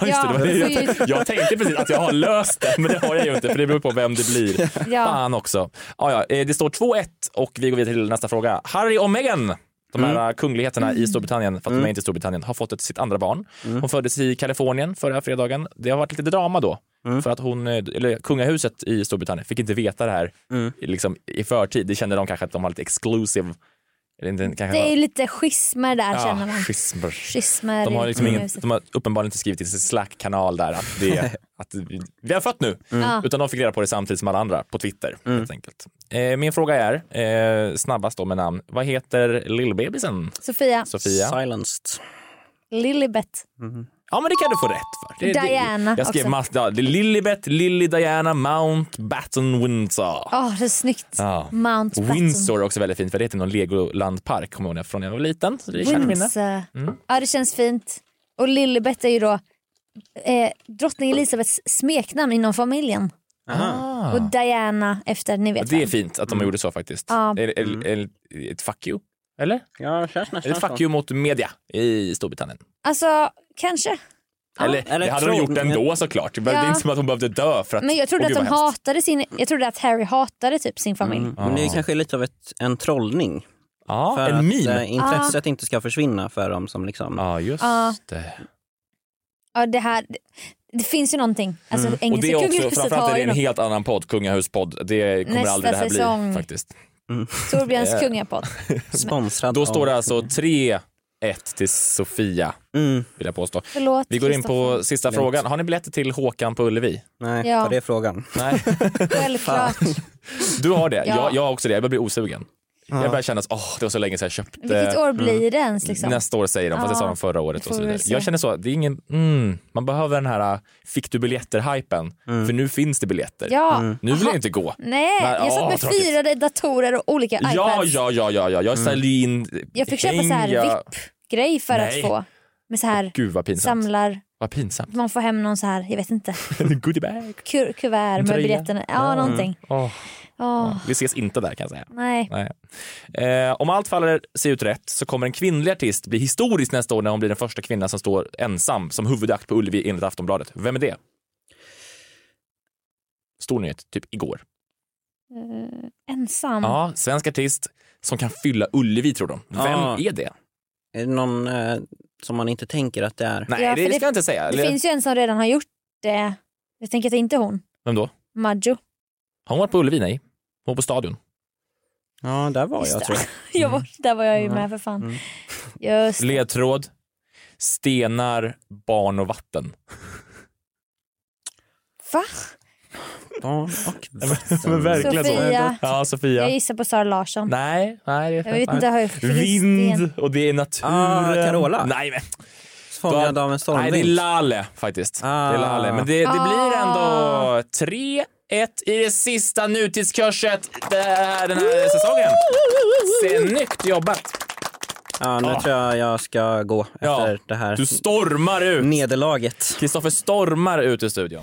Speaker 5: Ja, just det, det var det
Speaker 8: Ja,
Speaker 5: jag, tänkte. jag tänkte precis att jag har löst det, men det har jag ju inte för det beror på vem det blir.
Speaker 8: Ja.
Speaker 5: Fan också. Ja, ja, eh, det står 2-1 och vi går vidare till nästa fråga. Harry och Meghan, de här
Speaker 8: Mm.
Speaker 5: eh, kungligheterna i Storbritannien, för att de är inte i Storbritannien, har fått ett, sitt andra barn.
Speaker 8: Mm.
Speaker 5: Hon föddes i Kalifornien förra fredagen. Det har varit lite drama då.
Speaker 8: Mm.
Speaker 5: För att hon, eh, eller kungahuset i Storbritannien fick inte veta det här
Speaker 8: Mm.
Speaker 5: liksom, i förtid. Det kände de kanske att de var lite exclusive. Eller inte- kanske
Speaker 8: Det är
Speaker 5: var-
Speaker 8: ju lite schismer där
Speaker 5: Ja,
Speaker 8: känner man.
Speaker 5: schismer.
Speaker 8: Schismer
Speaker 5: De har,
Speaker 8: i
Speaker 5: liksom ingen,
Speaker 8: kungahuset.
Speaker 5: de har uppenbarligen inte skrivit i sin Slack-kanal där att, det, att vi, vi har fött nu. Mm.
Speaker 8: Ja.
Speaker 5: Utan de fick reda på det samtidigt som alla andra på Twitter. Helt enkelt. Eh, min fråga är, eh, snabbast då med namn, vad heter lillbebisen?
Speaker 8: Sofia,
Speaker 5: Sofia?
Speaker 7: Silenced.
Speaker 8: Lilibet.
Speaker 5: Ja men det kan du få rätt för. Det,
Speaker 8: Diana
Speaker 5: det, jag skrev
Speaker 8: också.
Speaker 5: mass, ja, det är Lilibet, Lily Diana, Mount Batten Windsor.
Speaker 8: Åh, det är snyggt.
Speaker 5: Ja.
Speaker 8: Mount Patton.
Speaker 5: Windsor är också väldigt fint för det heter någon Legolandpark kommer jag ihåg från när jag var liten. Så det är kärt minne.
Speaker 8: Windsor.
Speaker 5: Mm.
Speaker 8: Ja, det känns fint. Och Lilibet är ju då eh, drottning Elisabeths smeknamn inom familjen.
Speaker 5: Ah.
Speaker 8: Och Diana efter, ni vet
Speaker 5: Det är
Speaker 8: vem.
Speaker 5: fint att de gjorde så faktiskt.
Speaker 8: Ja.
Speaker 5: Är, är, är, är ett fuck you? Eller?
Speaker 7: Ja, känns
Speaker 5: Är det ett fuck you mot media i Storbritannien?
Speaker 8: Alltså, kanske.
Speaker 5: Eller,
Speaker 7: Eller
Speaker 5: det hade de
Speaker 7: tror-
Speaker 5: gjort ändå såklart. Det är
Speaker 8: Ja.
Speaker 5: inte som att hon behövde dö för att...
Speaker 8: Men jag trodde
Speaker 5: Åh, gud,
Speaker 8: att de
Speaker 5: vad hemskt. Mm.
Speaker 8: hatade sin, jag trodde att Harry hatade typ sin familj.
Speaker 7: Men det är kanske lite av ett, en trollning.
Speaker 5: Ja,
Speaker 7: för
Speaker 5: en
Speaker 7: att
Speaker 5: meme.
Speaker 7: eh, intresset inte ska försvinna för dem som liksom...
Speaker 5: Ja, just
Speaker 8: Ja.
Speaker 5: det.
Speaker 8: Ja, det här, det finns ju någonting. Alltså,
Speaker 5: Mm. Och det
Speaker 8: engelska
Speaker 5: är också,
Speaker 8: kungahuset
Speaker 5: framförallt
Speaker 8: har
Speaker 5: är det
Speaker 8: ju
Speaker 5: en
Speaker 8: något.
Speaker 5: helt annan podd, kungahuspodd. Det kommer
Speaker 8: Nästa
Speaker 5: aldrig det här
Speaker 8: säsong.
Speaker 5: bli faktiskt.
Speaker 8: Torbjörns kungapott.
Speaker 7: Sponsrad
Speaker 5: Då
Speaker 7: av-
Speaker 5: står det alltså 3-1 till Sofia,
Speaker 7: Mm,
Speaker 5: vill jag påstå.
Speaker 8: Förlåt,
Speaker 5: Vi går in på
Speaker 8: Kristoffer.
Speaker 5: sista
Speaker 7: Lugnt.
Speaker 5: frågan. Har ni biljetter till Håkan på Ullevi?
Speaker 7: Nej,
Speaker 8: Ja.
Speaker 7: var det frågan?
Speaker 5: Nej,
Speaker 8: Självklart.
Speaker 5: du har det.
Speaker 8: Ja.
Speaker 5: Jag, jag har också det. Jag börjar bli osugen. Jag börjar känna att åh, det var så länge sedan jag köpte.
Speaker 8: Vilket år blir det ens? Liksom?
Speaker 5: eh, mm. Nästa år säger de, fast det sa
Speaker 8: Ja,
Speaker 5: de förra året.
Speaker 8: det
Speaker 5: Och så
Speaker 8: får vi
Speaker 5: vidare.
Speaker 8: väl se.
Speaker 5: Jag känner så, det är ingen, mm, man behöver den här äh, fick du biljetter-hypen, för nu finns det biljetter.
Speaker 8: Ja. Mm.
Speaker 5: Nu vill jag inte gå.
Speaker 8: Nej,
Speaker 5: Nej,
Speaker 8: jag satt
Speaker 5: åh,
Speaker 8: med
Speaker 5: tråkigt.
Speaker 8: fyra datorer och olika iPads.
Speaker 5: Ja, ja, ja, ja, ja. jag ställer in
Speaker 8: Jag fick köpa
Speaker 5: häng,
Speaker 8: så här
Speaker 5: jag-
Speaker 8: VIP-grej för
Speaker 5: Nej.
Speaker 8: att få. Med så här
Speaker 5: Gud vad pinsamt.
Speaker 8: samlar,
Speaker 5: Vad pinsamt.
Speaker 8: man får hem någon så här, jag vet inte,
Speaker 5: Goodiebag.
Speaker 8: kur- kuvert
Speaker 5: En
Speaker 8: med
Speaker 5: tröja.
Speaker 8: biljetterna. Ja,
Speaker 5: Ja.
Speaker 8: någonting.
Speaker 5: Åh.
Speaker 8: Åh,
Speaker 5: Vi ses inte där kan jag säga.
Speaker 8: Nej.
Speaker 5: Nej. Eh, om allt faller sig ut rätt så kommer en kvinnlig artist bli historisk nästa år när hon blir den första kvinnan som står ensam som huvudakt på Ullevi enligt Aftonbladet. Vem är det? Stor nyhet, typ igår.
Speaker 8: Ensam.
Speaker 5: Ja, svensk artist som kan fylla Ullevi tror de. Vem
Speaker 7: Ja.
Speaker 5: är det?
Speaker 7: Är det någon eh, som man inte tänker att det är?
Speaker 5: Nej,
Speaker 8: Ja,
Speaker 5: det,
Speaker 8: för
Speaker 5: ska
Speaker 8: det-
Speaker 5: jag inte säga.
Speaker 8: Det
Speaker 5: Eller-
Speaker 8: finns ju en som redan har gjort det. Jag tänker att det är inte hon.
Speaker 5: Vem då?
Speaker 8: Maggio.
Speaker 5: Har hon varit på Ullevi? Nej. Hon var på Stadion.
Speaker 7: Ja, där var
Speaker 8: Just
Speaker 7: jag
Speaker 8: det.
Speaker 7: tror jag.
Speaker 8: Jag
Speaker 5: Mm.
Speaker 8: var, där var jag ju med för fan. Just det.
Speaker 5: Ledtråd. Stenar, barn och vatten.
Speaker 8: Va?
Speaker 7: Barn och vatten.
Speaker 8: verkligen så. Sofia.
Speaker 5: Ja, Sofia.
Speaker 8: Jag gissar på Sara Larsson.
Speaker 5: Nej, nej. Det
Speaker 8: Jag vet inte, har jag fick en sten.
Speaker 5: Vind och det är naturen.
Speaker 7: Ah, Carola.
Speaker 5: Nej, men.
Speaker 7: Fångad
Speaker 5: nej,
Speaker 7: av en
Speaker 5: det är
Speaker 7: stormvind.
Speaker 5: Lale faktiskt.
Speaker 7: Ah.
Speaker 5: Det är Lale. Men det, det
Speaker 8: Ah.
Speaker 5: blir ändå 3-1 i det sista nutidskurset det här- den här säsongen. Snyggt jobbat.
Speaker 7: Ja, nu tror jag jag ska gå efter
Speaker 5: Ja,
Speaker 7: det här
Speaker 5: Du stormar ut.
Speaker 7: nederlaget.
Speaker 5: Kristoffer stormar ut ur studion.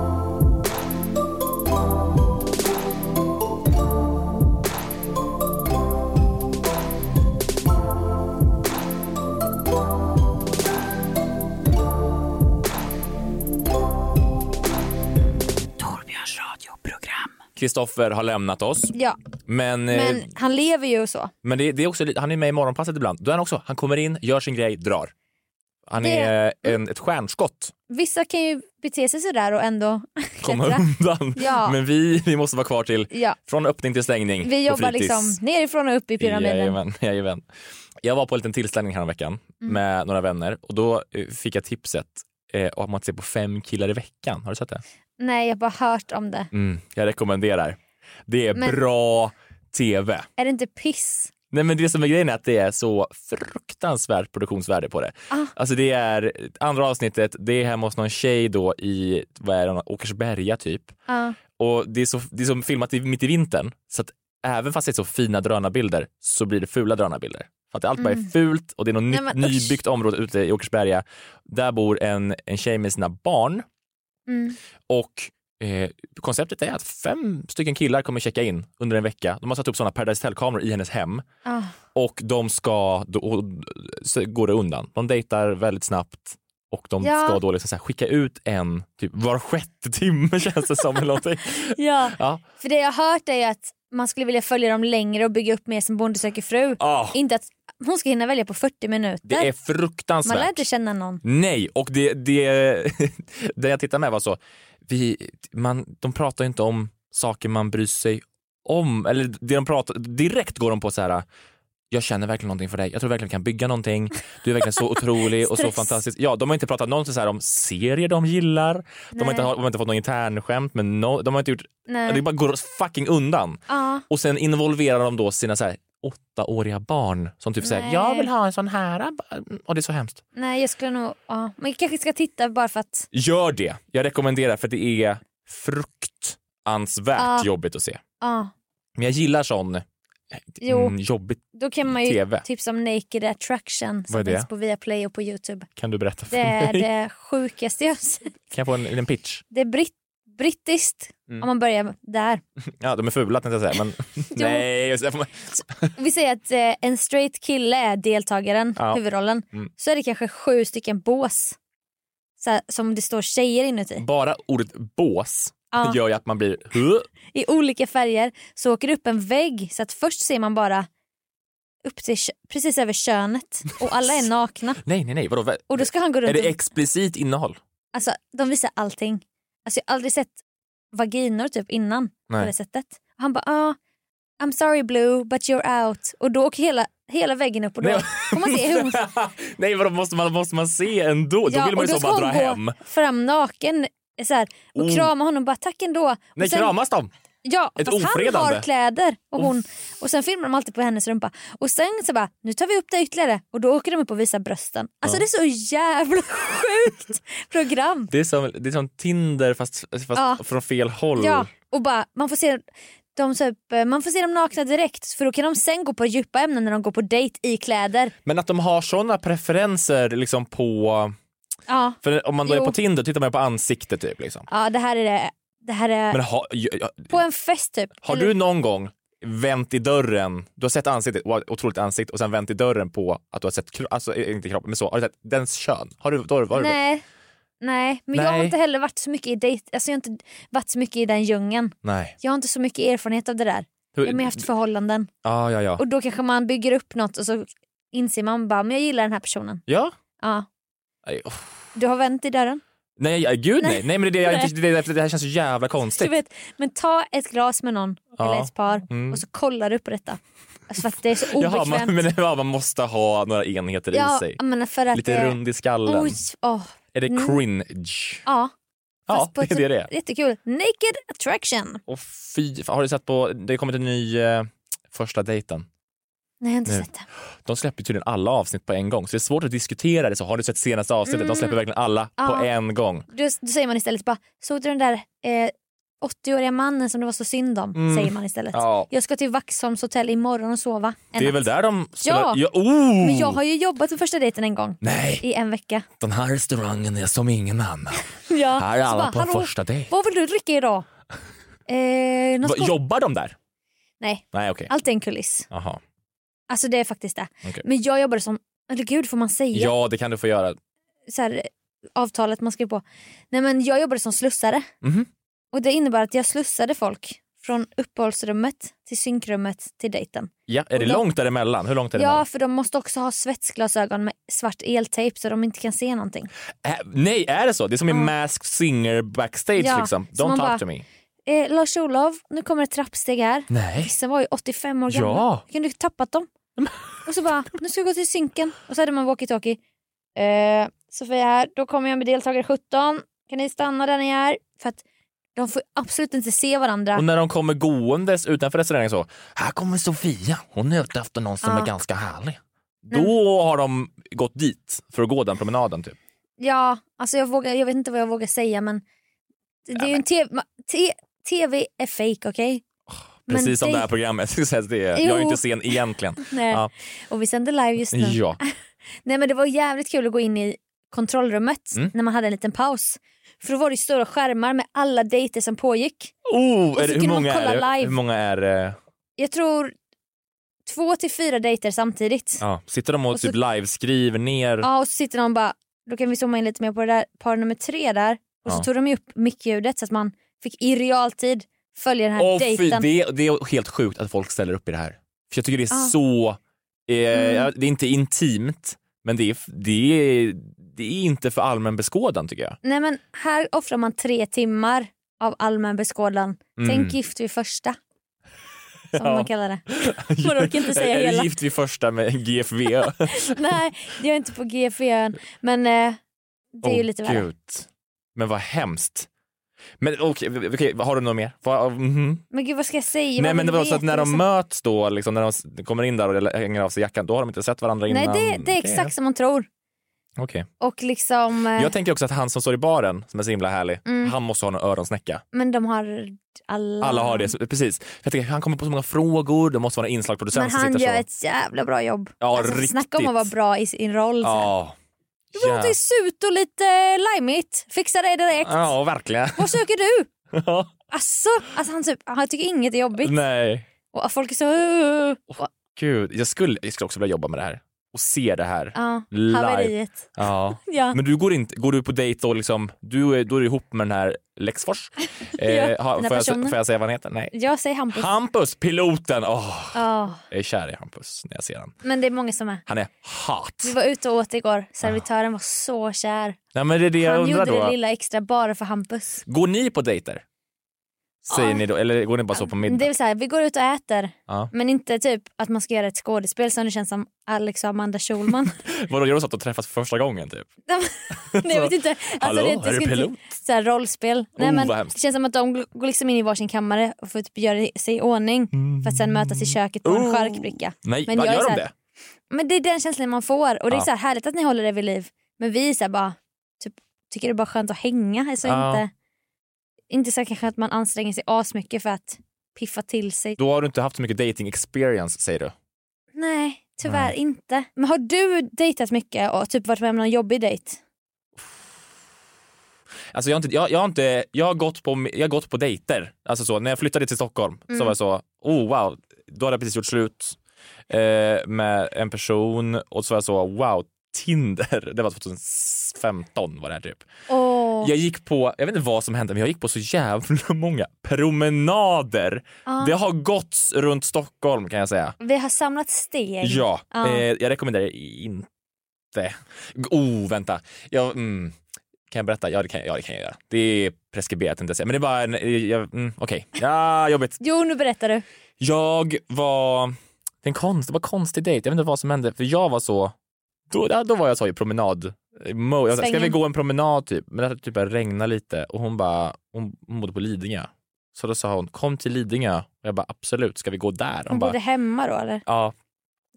Speaker 1: Torbjörns radioprogram.
Speaker 5: Kristoffer har lämnat oss.
Speaker 8: Ja,
Speaker 5: Men, men... Eh,
Speaker 8: men han lever ju och så.
Speaker 5: men det, det är också, lite- han är med i Morgonpasset ibland. Då är han också. Han kommer in, gör sin grej, drar. Han
Speaker 8: Det-
Speaker 5: är en, ett stjärnskott.
Speaker 8: Vissa kan ju bete sig sådär och ändå
Speaker 5: komma
Speaker 8: klättra.
Speaker 5: undan.
Speaker 8: Ja.
Speaker 5: Men vi, vi måste vara kvar till
Speaker 8: Ja.
Speaker 5: från öppning till stängning
Speaker 8: Vi
Speaker 5: på
Speaker 8: jobbar
Speaker 5: fritids.
Speaker 8: liksom nerifrån och upp i pyramiden.
Speaker 5: Jajamän, jajamän. Jag var på en liten tillställning häromveckan
Speaker 8: Mm.
Speaker 5: med några vänner och då eh, fick jag tipset eh, om att se på Fem killar i veckan. Har du sett det?
Speaker 8: Nej, jag har bara hört om det.
Speaker 5: Mm, jag rekommenderar. Det är
Speaker 8: Men-
Speaker 5: bra tv.
Speaker 8: Är det inte piss?
Speaker 5: Nej, men det som är grejen är att det är så fruktansvärt produktionsvärde på det.
Speaker 8: Ah.
Speaker 5: Alltså det är andra avsnittet, det är hemma hos någon tjej då i vad är det, Åkersberga typ.
Speaker 8: Ja.
Speaker 5: Och det är, så, det är som filmat i, mitt i vintern, så att även fast det är så fina drönarbilder så blir det fula drönarbilder. För att allt bara är
Speaker 8: Mm.
Speaker 5: fult och det är något
Speaker 8: Nej,
Speaker 5: nytt,
Speaker 8: men usch.
Speaker 5: nybyggt område ute i Åkersberga. Där bor en, en tjej med sina barn
Speaker 8: Mm.
Speaker 5: och eh, konceptet är att fem stycken killar kommer checka in under en vecka. De har satt upp sådana Paradise Hotel-kameror i hennes hem
Speaker 8: Ah.
Speaker 5: och de ska, då, och, så går det undan. De dejtar väldigt snabbt och de
Speaker 8: Ja.
Speaker 5: ska då liksom så här skicka ut en typ var sjätte timme känns det som. Eller någonting.
Speaker 8: Ja.
Speaker 5: Ja.
Speaker 8: För det jag har hört är ju att man skulle vilja följa dem längre och bygga upp mer som Bonde söker fru.
Speaker 5: Ah.
Speaker 8: Inte att hon ska hinna välja på 40 minuter.
Speaker 5: Det är
Speaker 8: man lär
Speaker 5: fruktansvärt.
Speaker 8: inte känna någon.
Speaker 5: Nej, och det, det, det jag tittade med var så, vi, man, de pratar ju inte om saker man bryr sig om. Eller det de pratar, direkt går de på så här, jag känner verkligen någonting för dig, jag tror verkligen vi kan bygga någonting, du är verkligen så otrolig och så
Speaker 8: Stress.
Speaker 5: fantastisk. Ja, de har inte pratat någonsin så här om serier de gillar, de har,
Speaker 8: Nej.
Speaker 5: inte, de har inte fått någon internskämt, men no, de har inte gjort,
Speaker 8: Nej.
Speaker 5: det bara går fucking undan.
Speaker 8: Ja.
Speaker 5: Och sen involverar de då sina så här åttaåriga barn som typ säger
Speaker 8: Nej.
Speaker 5: jag vill ha en sån här. Och det är så hemskt.
Speaker 8: Nej, jag skulle nog... Ja. Men jag kanske ska titta bara för att...
Speaker 5: Gör det. Jag rekommenderar för det är fruktansvärt
Speaker 8: Ja.
Speaker 5: jobbigt att se.
Speaker 8: Ja.
Speaker 5: Men jag gillar sån eh,
Speaker 8: Jo.
Speaker 5: mm, jobbigt.
Speaker 8: Då kan man ju
Speaker 5: TV.
Speaker 8: tipsa om Naked Attraction
Speaker 5: Vad är
Speaker 8: som
Speaker 5: det?
Speaker 8: finns på Viaplay och på Youtube.
Speaker 5: Kan du berätta för
Speaker 8: Det är
Speaker 5: mig?
Speaker 8: det sjukaste jag har sett.
Speaker 5: Kan jag få en liten pitch?
Speaker 8: Det är britt, brittiskt
Speaker 5: Mm.
Speaker 8: om man börjar där.
Speaker 5: Ja, de är fula tänkte jag säga. Men nej, just det. får man-
Speaker 8: Vi säger att eh, en straight kille är deltagaren,
Speaker 5: Ja.
Speaker 8: huvudrollen.
Speaker 5: Mm.
Speaker 8: Så är det kanske sju stycken bås så här, som det står tjejer inuti.
Speaker 5: Bara ordet bås
Speaker 8: Ja.
Speaker 5: gör ju att man blir... "Huh?"
Speaker 8: I olika färger så åker det upp en vägg så att först ser man bara upp till, kö- precis över könet och alla är nakna.
Speaker 5: Nej, nej, nej. Vadå?
Speaker 8: Och då ska han gå runt
Speaker 5: Är det
Speaker 8: och-
Speaker 5: explicit innehåll?
Speaker 8: Alltså de visar allting. Alltså jag har aldrig sett vaginor typ innan
Speaker 5: Nej.
Speaker 8: på det sättet. Och han bara ah, I'm sorry Blue but you're out. Och då åker hela, hela väggen upp och då
Speaker 5: Nej.
Speaker 8: får man se hur hon
Speaker 5: Nej, vadå? Måste man, måste man se ändå? då vill man
Speaker 8: och
Speaker 5: ju
Speaker 8: då
Speaker 5: så
Speaker 8: ska
Speaker 5: bara
Speaker 8: hon
Speaker 5: dra
Speaker 8: gå
Speaker 5: hem.
Speaker 8: fram naken så här, och
Speaker 5: Oh.
Speaker 8: krama honom bara tack ändå. Och
Speaker 5: Nej,
Speaker 8: sen-
Speaker 5: kramas de?
Speaker 8: Ja,
Speaker 5: Ett
Speaker 8: fast han
Speaker 5: ofredande.
Speaker 8: har kläder och,
Speaker 5: Oh.
Speaker 8: hon, och sen filmar de alltid på hennes rumpa. Och sen så bara, nu tar vi upp det ytterligare och då åker de upp och visar brösten. Alltså
Speaker 5: Ja.
Speaker 8: det är så jävla sjukt program.
Speaker 5: Det är som, det är som Tinder fast, fast
Speaker 8: Ja.
Speaker 5: från fel håll.
Speaker 8: Ja, och bara, man får se de typ, man får se dem nakna direkt för då kan de sen gå på djupa ämnen när de går på dejt i kläder.
Speaker 5: Men att de har såna preferenser liksom på...
Speaker 8: Ja,
Speaker 5: För om man då är
Speaker 8: Jo.
Speaker 5: på Tinder tittar man ju på ansiktet typ. Liksom.
Speaker 8: ja det här är det. Det här är
Speaker 5: Men ha, ja, ja,
Speaker 8: på en fest typ.
Speaker 5: har
Speaker 8: Äh. Eller-
Speaker 5: du någon gång vänt i dörren, du har sett ansiktet, wow, otroligt ansikte och sen vänt i dörren på att du har sett, kro- alltså eh, inte kroppen men så, har du sett dens kön? Har du, då har du, har du
Speaker 8: Nej. Nej, men jag har
Speaker 5: Nej.
Speaker 8: inte heller varit så mycket i dejt, alltså jag har inte varit så mycket i den djungeln.
Speaker 5: Nej.
Speaker 8: Jag har inte så mycket erfarenhet av det där.
Speaker 5: Hur-
Speaker 8: Jag har mer haft förhållanden.
Speaker 5: Ja, ja, ja.
Speaker 8: Och då kanske man bygger upp något och så inser man bara, men jag gillar den här personen.
Speaker 5: Ja?
Speaker 8: Ja.
Speaker 5: Nej, oh.
Speaker 8: Du har vänt i dörren.
Speaker 5: Nej, jag- gud nej.
Speaker 8: Nej.
Speaker 5: nej. men det, är det, jag
Speaker 8: Nej.
Speaker 5: inte- det, är därför det här känns så jävla
Speaker 8: Du
Speaker 5: konstigt.
Speaker 8: vet, men ta ett glas med någon
Speaker 5: Ja.
Speaker 8: eller ett par
Speaker 5: Mm.
Speaker 8: och så kollar du på detta. Alltså för att det är så
Speaker 5: Jaha,
Speaker 8: obekvämt.
Speaker 5: man, men, ja, man måste ha några enheter
Speaker 8: ja,
Speaker 5: i sig.
Speaker 8: men för att
Speaker 5: Lite
Speaker 8: det-
Speaker 5: rund i skallen.
Speaker 8: Oj, åh.
Speaker 5: Är det
Speaker 8: Mm.
Speaker 5: cringe?
Speaker 8: Ja.
Speaker 5: Ja,
Speaker 8: Fast på
Speaker 5: det är
Speaker 8: ett-
Speaker 5: det det är.
Speaker 8: Jättekul. Naked attraction.
Speaker 5: Och fy, fan, har du sett på, det har kommit en ny eh, första dejten.
Speaker 8: Nej, jag har inte
Speaker 5: Nu.
Speaker 8: sett det.
Speaker 5: De släpper tydligen alla avsnitt på en gång så det är svårt att diskutera det. Så har du sett senaste avsnittet? De släpper
Speaker 8: Mm.
Speaker 5: verkligen alla
Speaker 8: Ja.
Speaker 5: på en gång.
Speaker 8: Då, då säger man istället bara, såg du den där eh, 80-åriga mannen som det var så synd om?
Speaker 5: Mm.
Speaker 8: Säger man istället.
Speaker 5: Ja.
Speaker 8: Jag ska till Vaxholms hotell imorgon och sova. en
Speaker 5: Det är
Speaker 8: natt."
Speaker 5: väl där de spelar...
Speaker 8: Ja.
Speaker 5: oh!
Speaker 8: Men jag har ju jobbat på första dejten en gång.
Speaker 5: Nej.
Speaker 8: I en vecka.
Speaker 5: Den här restaurangen är som ingen annan.
Speaker 8: Ja.
Speaker 5: Här är
Speaker 8: Så
Speaker 5: alla
Speaker 8: bara,
Speaker 5: på en
Speaker 8: "Hallå,
Speaker 5: första dejt."
Speaker 8: Vad vill du dricka idag? Eh, något
Speaker 5: Va,
Speaker 8: gott?
Speaker 5: jobbar de där?
Speaker 8: Nej,
Speaker 5: Nej okej.
Speaker 8: allt är en kuliss.
Speaker 5: Jaha.
Speaker 8: Alltså det är faktiskt det.
Speaker 5: Okej.
Speaker 8: Men jag jobbade som, eller gud får man säga?
Speaker 5: Ja det kan du få göra.
Speaker 8: Så här, eh, avtalet man skrev på. Nej men jag jobbade som slussare.
Speaker 5: Mhm.
Speaker 8: Och det innebär att jag slussade folk från uppehållsrummet till synkrummet till dejten.
Speaker 5: Ja, är det
Speaker 8: Och de-
Speaker 5: långt däremellan? Hur långt är det
Speaker 8: Ja,
Speaker 5: emellan?
Speaker 8: för de måste också ha svetsglasögon med svart eltejp så de inte kan se någonting.
Speaker 5: Äh, nej, är det så? Det är som i
Speaker 8: Ja.
Speaker 5: Masked Singer backstage
Speaker 8: Ja,
Speaker 5: liksom.
Speaker 8: så
Speaker 5: Don't
Speaker 8: man
Speaker 5: talk
Speaker 8: bara-
Speaker 5: to me.
Speaker 8: Eh, Lars-Olov, nu kommer ett trappsteg här.
Speaker 5: Nej.
Speaker 8: Vissa var ju 85 år gamla.
Speaker 5: Ja.
Speaker 8: Kan du tappat dem? Och så bara, nu ska vi gå till synken. Och så hade man walkie-talkie. Eh, Sofia här, då kommer jag med deltagare 17. Kan ni stanna där ni är? För att de får absolut inte se varandra.
Speaker 5: Och när de kommer gåendes utanför restaurangen så, här kommer Sofia, hon är ute efter någon som
Speaker 8: Ja.
Speaker 5: är ganska härlig. Då har de gått dit för att gå den promenaden typ.
Speaker 8: Ja, alltså jag, vågar, jag vet inte vad jag vågar säga men det, det är ju en TV... ma- T- TV är fake, okej? Men
Speaker 5: Precis som det här
Speaker 8: dejt-
Speaker 5: programmet. Så att det är, jag är ju
Speaker 8: Jo.
Speaker 5: inte sen egentligen.
Speaker 8: Nej.
Speaker 5: Ja.
Speaker 8: Och vi sänder live just nu.
Speaker 5: Ja.
Speaker 8: Nej men det var jävligt kul att gå in i kontrollrummet
Speaker 5: Mm.
Speaker 8: när man hade en liten paus. För då var det ju stora skärmar med alla dejter som pågick. Och
Speaker 5: Oh,
Speaker 8: så
Speaker 5: är det, hur,
Speaker 8: kunde man
Speaker 5: många
Speaker 8: kolla
Speaker 5: är det?
Speaker 8: live.
Speaker 5: hur många är eh, det?
Speaker 8: Jag tror två till fyra dejter samtidigt. Ja,
Speaker 5: Ja. Sitter de och,
Speaker 8: Och så-
Speaker 5: typ liveskriver ner?
Speaker 8: och så sitter de bara, då kan vi zooma in lite mer på det där par nummer tre där. Och så
Speaker 5: Ja.
Speaker 8: tog de ju upp mickljudet så att man fick i realtid följa den här
Speaker 5: Åh, fy,
Speaker 8: dejten.
Speaker 5: det, det är helt sjukt att folk ställer upp i det här. För jag tycker det är
Speaker 8: Ja.
Speaker 5: så, eh,
Speaker 8: Mm.
Speaker 5: ja, det är inte intimt, men det är, det är, det är inte för allmän beskådan tycker jag.
Speaker 8: Nej men här offrar man tre timmar av allmän beskådan.
Speaker 5: Mm.
Speaker 8: Tänk gift vid första. Som
Speaker 5: Ja.
Speaker 8: man kallar det. Man orkar inte säga
Speaker 5: Är
Speaker 8: hela.
Speaker 5: du gift vid första med GFV?
Speaker 8: Nej, jag är inte på GFön. Men eh, det är ju lite värre.
Speaker 5: Gud. Men vad hemskt. Men okej, okej, har du något mer? Vad- mhm.
Speaker 8: Men gud vad ska jag
Speaker 5: Nej
Speaker 8: säga? Vad
Speaker 5: men det
Speaker 8: man
Speaker 5: var så att
Speaker 8: vet liksom.
Speaker 5: när
Speaker 8: och
Speaker 5: de
Speaker 8: så-
Speaker 5: möts då, liksom, när de s- kommer in där och hänger av sig jackan, då har de inte sett varandra
Speaker 8: Nej
Speaker 5: innan.
Speaker 8: det, det är exakt som man tror.
Speaker 5: Okej.
Speaker 8: Och liksom, eh,
Speaker 5: Jag tänker också att han som står i baren, som är så himla härlig,
Speaker 8: Mm.
Speaker 5: han måste ha någon öronsnäcka.
Speaker 8: men de har alla...
Speaker 5: Alla har det, så- precis. För jag tänker, han kommer på så många frågor, det måste vara en inslagsproducent
Speaker 8: Men
Speaker 5: som
Speaker 8: han
Speaker 5: sitter
Speaker 8: gör
Speaker 5: så.
Speaker 8: ett jävla bra jobb.
Speaker 5: Ja,
Speaker 8: Alltså,
Speaker 5: riktigt.
Speaker 8: snacka om att vara bra i sin roll. Ja.
Speaker 5: Ja.
Speaker 8: Det låter ju surt och lite lajmigt. Fixa det direkt.
Speaker 5: Ja, verkligen.
Speaker 8: Vad söker du?
Speaker 5: Ja.
Speaker 8: Alltså, alltså han, typ, han tycker inget är jobbigt.
Speaker 5: Nej,
Speaker 8: Och folk är så... "Åh, åh, åh."
Speaker 5: gud. Jag skulle, jag skulle också vilja jobba med det här och se det här.
Speaker 8: Ja,
Speaker 5: Live.
Speaker 8: haveriet.
Speaker 5: Ja.
Speaker 8: Ja.
Speaker 5: Men du går, inte, går du på dejt då, liksom, du, är- då är du ihop med den här Lexfors? Eh,
Speaker 8: Ja,
Speaker 5: ha-
Speaker 8: den här
Speaker 5: får, jag, se-
Speaker 8: personen.
Speaker 5: får jag säga vad han heter? Nej.
Speaker 8: Jag säger Hampus.
Speaker 5: Hampus, piloten! Åh,
Speaker 8: Ja.
Speaker 5: jag är kär i Hampus när jag ser honom.
Speaker 8: Men det är många som är.
Speaker 5: Han är hot.
Speaker 8: Vi var ute och åt igår. Servitören var så kär.
Speaker 5: Nej, men det är det jag
Speaker 8: Han
Speaker 5: undrar
Speaker 8: gjorde
Speaker 5: då.
Speaker 8: det lilla extra bara för Hampus.
Speaker 5: Går ni på dejter? Säger ni då, eller går ni bara så på middag?
Speaker 8: Det är så här, vi går ut och äter.
Speaker 5: Ja.
Speaker 8: Men inte typ att man ska göra ett skådespel som det känns som Alex och Amanda Schulman.
Speaker 5: Vadå, gör de så att de träffas för första gången typ?
Speaker 8: Nej, jag vet inte. Alltså,
Speaker 5: Hallå,
Speaker 8: inte-
Speaker 5: är du
Speaker 8: ska inte-
Speaker 5: pilot?
Speaker 8: Så här, rollspel.
Speaker 5: Oh,
Speaker 8: Nej, men
Speaker 5: vad
Speaker 8: det
Speaker 5: hemskt.
Speaker 8: känns som att de gl- går liksom in i varsin kammare och får typ göra sig i ordning för att sen mötas i köket på en charkbricka.
Speaker 5: Mm. Oh. Nej,
Speaker 8: Men
Speaker 5: vad
Speaker 8: jag är
Speaker 5: gör
Speaker 8: så
Speaker 5: de
Speaker 8: här-
Speaker 5: det?
Speaker 8: Men det är den känslan man får och det är
Speaker 5: Ja.
Speaker 8: så här härligt att ni håller det vid liv. Men vi är så här bara, typ, tycker det är bara skönt att hänga. Alltså
Speaker 5: Ja.
Speaker 8: inte, inte så här kanske att man anstränger sig asmycket för att piffa till sig.
Speaker 5: Då har du inte haft så mycket dating experience säger du?
Speaker 8: Nej, tyvärr
Speaker 5: Nej.
Speaker 8: inte. Men har du dejtat mycket och typ varit med om någon jobbig dejt?
Speaker 5: Alltså jag har, inte, jag, jag har, inte, jag har, gått, på, jag har gått på dejter. Alltså så, när jag flyttade till Stockholm
Speaker 8: Mm.
Speaker 5: så var jag så, oh wow, då hade jag precis gjort slut eh, med en person och så var jag så, wow, Tinder. Det var 2015 var det här typ.
Speaker 8: Åh.
Speaker 5: Jag gick på, jag vet inte vad som hände, men jag gick på så jävla många promenader.
Speaker 8: Ja.
Speaker 5: Det har gått runt Stockholm kan jag säga.
Speaker 8: Vi har samlat steg.
Speaker 5: Ja, Eh, jag rekommenderar inte. Oh, vänta. Jag, mm, kan jag berätta? Ja det kan, jag- ja, det kan jag göra. Det är preskriberat inte säga, men det är bara en... eh, jag- Mm, Okej, ja, jobbigt.
Speaker 8: Jo, nu berättar du.
Speaker 5: Jag var... Det, är en konst, det var en konstig dejt, jag vet inte vad som hände, för jag var så... Då, ja, då var jag så i promenad. eh, mode. Jag sa, ska vi
Speaker 8: Svängen.
Speaker 5: gå en promenad typ? Men det hade typ börjat regna lite och hon bara, hon, hon bodde på Lidingö. Så då sa hon, kom till Lidingö. Och jag bara, absolut, ska vi gå där?
Speaker 8: Hon
Speaker 5: bara,
Speaker 8: bodde hemma då eller?
Speaker 5: ja,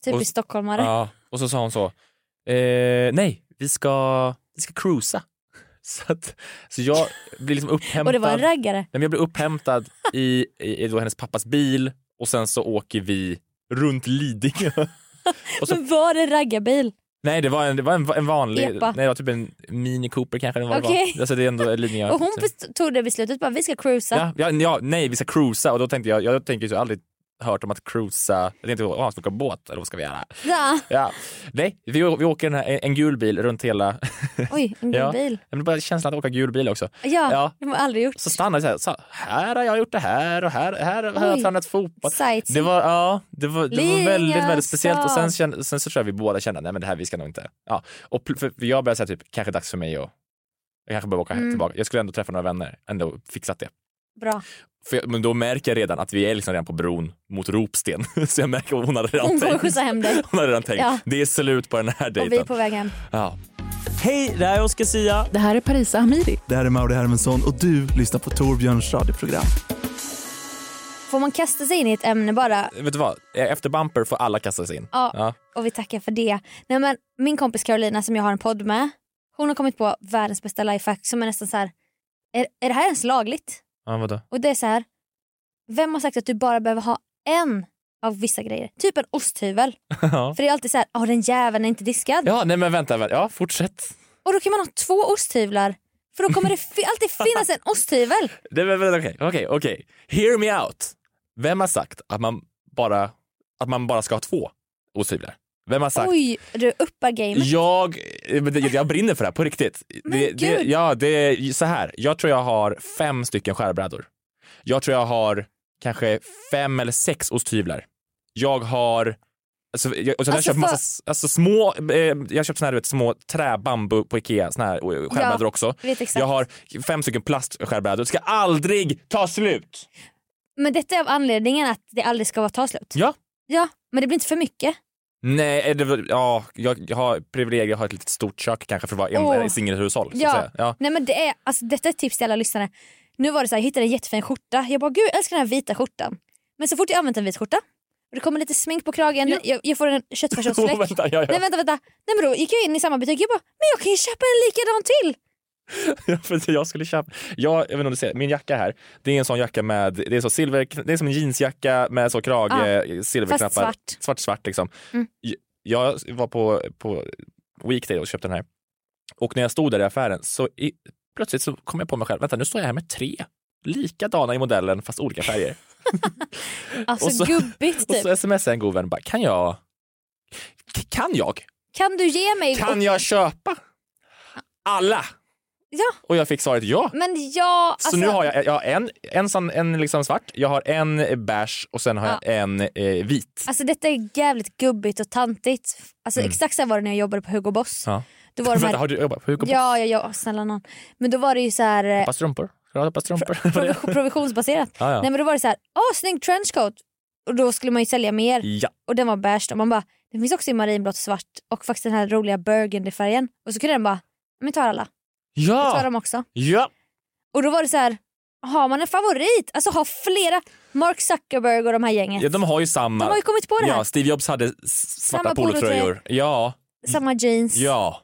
Speaker 8: Typ
Speaker 5: Och-
Speaker 8: i stockholmare.
Speaker 5: Ja, och så sa hon så, eh, nej, vi ska, vi ska cruisa. Så, att, så jag blir liksom upphämtad.
Speaker 8: Och det var en raggare.
Speaker 5: Nej, men jag blir upphämtad i, i, i då hennes pappas bil och sen så åker vi runt Lidingö. Och så,
Speaker 8: Men var det en raggarbil?
Speaker 5: nej, det var en, det var en, en vanlig,
Speaker 8: Epa.
Speaker 5: nej, det var typ en Mini Cooper kanske. Eller vad det
Speaker 8: Okej.
Speaker 5: var. Alltså, det är ändå Lidingö.
Speaker 8: Och hon först- tog det beslutet bara vi ska cruisa.
Speaker 5: ja, ja, ja, nej, vi ska cruisa och då tänkte jag, jag tänker ju så aldrig hört om att cruisa, jag tänkte, åh, ska vi åka båt eller vad ska vi göra?
Speaker 8: Ja.
Speaker 5: Ja. Nej, vi, å- vi åker den här, en, en gul bil runt hela...
Speaker 8: Oj, en gul
Speaker 5: ja.
Speaker 8: bil.
Speaker 5: Men bara känslan att åka gul bil också.
Speaker 8: Ja,
Speaker 5: Ja.
Speaker 8: det har man aldrig gjort.
Speaker 5: Så stannade vi så här, så här har jag gjort det här och här, här, här har jag
Speaker 8: Oj.
Speaker 5: tränat fotboll.
Speaker 8: Sightseeing.
Speaker 5: Det var, ja, det var, det var
Speaker 8: Lidingö
Speaker 5: väldigt, väldigt speciellt och sen,
Speaker 8: stad.
Speaker 5: kände, sen så tror jag vi båda kände, nej men det här vi ska nog inte. Ja. Och pl- för för jag började säga typ, kanske dags för mig att, jag kanske behöver åka
Speaker 8: Mm.
Speaker 5: tillbaka. Jag skulle ändå träffa några vänner, ändå fixat det.
Speaker 8: Bra.
Speaker 5: För jag, men då märker jag redan att vi är liksom redan på bron mot Ropsten. så jag märker att hon hade redan
Speaker 8: Hon kommer
Speaker 5: tänkt.
Speaker 8: skjutsa hem dig.
Speaker 5: Hon hade redan tänkt,
Speaker 8: Ja.
Speaker 5: det är slut på den här
Speaker 8: Och vi
Speaker 5: dejten.
Speaker 8: är på väg hem.
Speaker 5: Ja.
Speaker 12: Hej, det här är Oscar Sia.
Speaker 1: Det här är Parisa Amiri.
Speaker 12: Det här är Mauri Hermansson och du lyssnar på Torbjörns radioprogram.
Speaker 8: Får man kasta sig in i ett ämne bara?
Speaker 5: Vet du vad? Efter bumper får alla kasta sig in.
Speaker 8: Ja. Och vi tackar för det. Nej, men min kompis Carolina som jag har en podd med. Hon har kommit på världens bästa lifehack som är nästan så här. Är, är det här ens lagligt?
Speaker 5: Ja, vadå?
Speaker 8: Och det är så här. Vem har sagt att du bara behöver ha en av vissa grejer? Typ en osthyvel.
Speaker 5: Ja.
Speaker 8: För det är alltid så här, "Åh, den jäveln är inte diskad.
Speaker 5: ja, nej men vänta. vänta. Ja, fortsätt.
Speaker 8: Och då kan man ha två osthyvlar. För då kommer det fi- alltid finnas en osthyvel.
Speaker 5: Nej, men vänta, Okej, okej, okej. Hear me out. Vem har sagt att man bara, att man bara ska ha två osthyvlar? Vem har sagt?
Speaker 8: Oj, du uppar gamet.
Speaker 5: Jag, eh, men det- jag brinner för det här på riktigt. det, det,
Speaker 8: gud.
Speaker 5: ja, det är så här. Jag tror jag har fem stycken skärbrädor. Jag tror jag har kanske fem eller sex osthyvlar. Jag har Alltså, jag, och sen har jag
Speaker 9: Alltså,
Speaker 5: köpt massa, s- alltså små, eh, jag har köpt såna här, du vet, små träbambu på Ikea, såna här eh, skärbrädor
Speaker 8: Ja,
Speaker 5: också.
Speaker 8: vet exakt.
Speaker 5: Jag har fem stycken plastskärbrädor. Det ska aldrig ta slut!
Speaker 8: Men detta är av anledningen att det aldrig ska vara ta slut.
Speaker 5: Ja.
Speaker 8: Ja, men det blir inte för mycket.
Speaker 5: Nej, eh, det, var- ja, jag, jag har privilegier, jag har ett litet stort kök kanske för att vara en
Speaker 8: Åh.
Speaker 5: oh. singelhushåll. Så att
Speaker 8: Ja.
Speaker 5: säga. Ja.
Speaker 8: Nej, men det är, alltså, detta är ett tips till alla lyssnare. Nu var det så här, jag hittade en jättefin skjorta. Jag bara, gud jag älskar den här vita skjortan. Men så fort jag använt en vit skjorta och det kommer lite smink på kragen, jag, jag får en köttfärssåsfläck.
Speaker 5: Oh, vänta, ja, ja.
Speaker 8: Nej vänta, vänta. Nej men då gick jag in i samma butik jag bara, men jag kan ju köpa en likadan till.
Speaker 5: Ja, för jag skulle köpa, jag, jag vet inte om du ser, min jacka här, det är en sån jacka med, det är, så silver, det är som en jeansjacka med så krage,
Speaker 8: Ah,
Speaker 5: eh, silverknappar.
Speaker 8: fast svart.
Speaker 5: Svart, svart liksom.
Speaker 8: Mm.
Speaker 5: J- Jag var på, på Weekday och köpte den här. Och när jag stod där i affären så i, plötsligt så kom jag på mig själv, vänta nu står jag här med tre likadana i modellen fast olika färger.
Speaker 8: Alltså
Speaker 5: Och så-
Speaker 8: gubbigt
Speaker 5: och
Speaker 8: typ.
Speaker 5: så smsade en god vän bara, kan jag, k- kan jag,
Speaker 8: Kan du ge mig?
Speaker 5: kan jag köpa alla?
Speaker 8: Ja,
Speaker 5: Och jag fick svaret ja.
Speaker 8: men ja. alltså-
Speaker 5: Så nu har jag, jag har en, en, sån- en liksom svart, jag har en beige och sen har
Speaker 8: Ja.
Speaker 5: jag en eh, vit.
Speaker 8: Alltså detta är jävligt gubbigt och tantigt. Alltså
Speaker 5: Mm.
Speaker 8: exakt så här var det när jag jobbade på Hugo Boss.
Speaker 5: Ja.
Speaker 8: Då var de här-
Speaker 5: Vänta, har du jobbat på Hugo Boss?
Speaker 8: Ja, ja, ja, snälla någon. Men då var det ju så här eh,
Speaker 5: Ett par strumpor? Ska du ha ett par strumpor? Var det-
Speaker 8: provi- provisionsbaserat.
Speaker 5: Ja, ja.
Speaker 8: Nej men då var det så här, åh snygg trenchcoat. Och då skulle man ju sälja mer.
Speaker 5: Ja.
Speaker 8: Och den var beige och man bara, den finns också i marinblått och svart och faktiskt den här roliga burgundyfärgen. Och så kunde den bara, men ta alla. Jag tar
Speaker 5: Ja!
Speaker 8: dem också.
Speaker 5: ja!
Speaker 8: Och då var det så här, har man en favorit? Alltså har flera, Mark Zuckerberg och de här gänget.
Speaker 5: ja! De har ju samma.
Speaker 8: De har ju kommit på det här.
Speaker 5: Ja, Steve Jobs hade s- svarta
Speaker 8: Samma
Speaker 5: polotröjor.
Speaker 8: polotröjor.
Speaker 5: Ja.
Speaker 8: Samma jeans.
Speaker 5: Ja.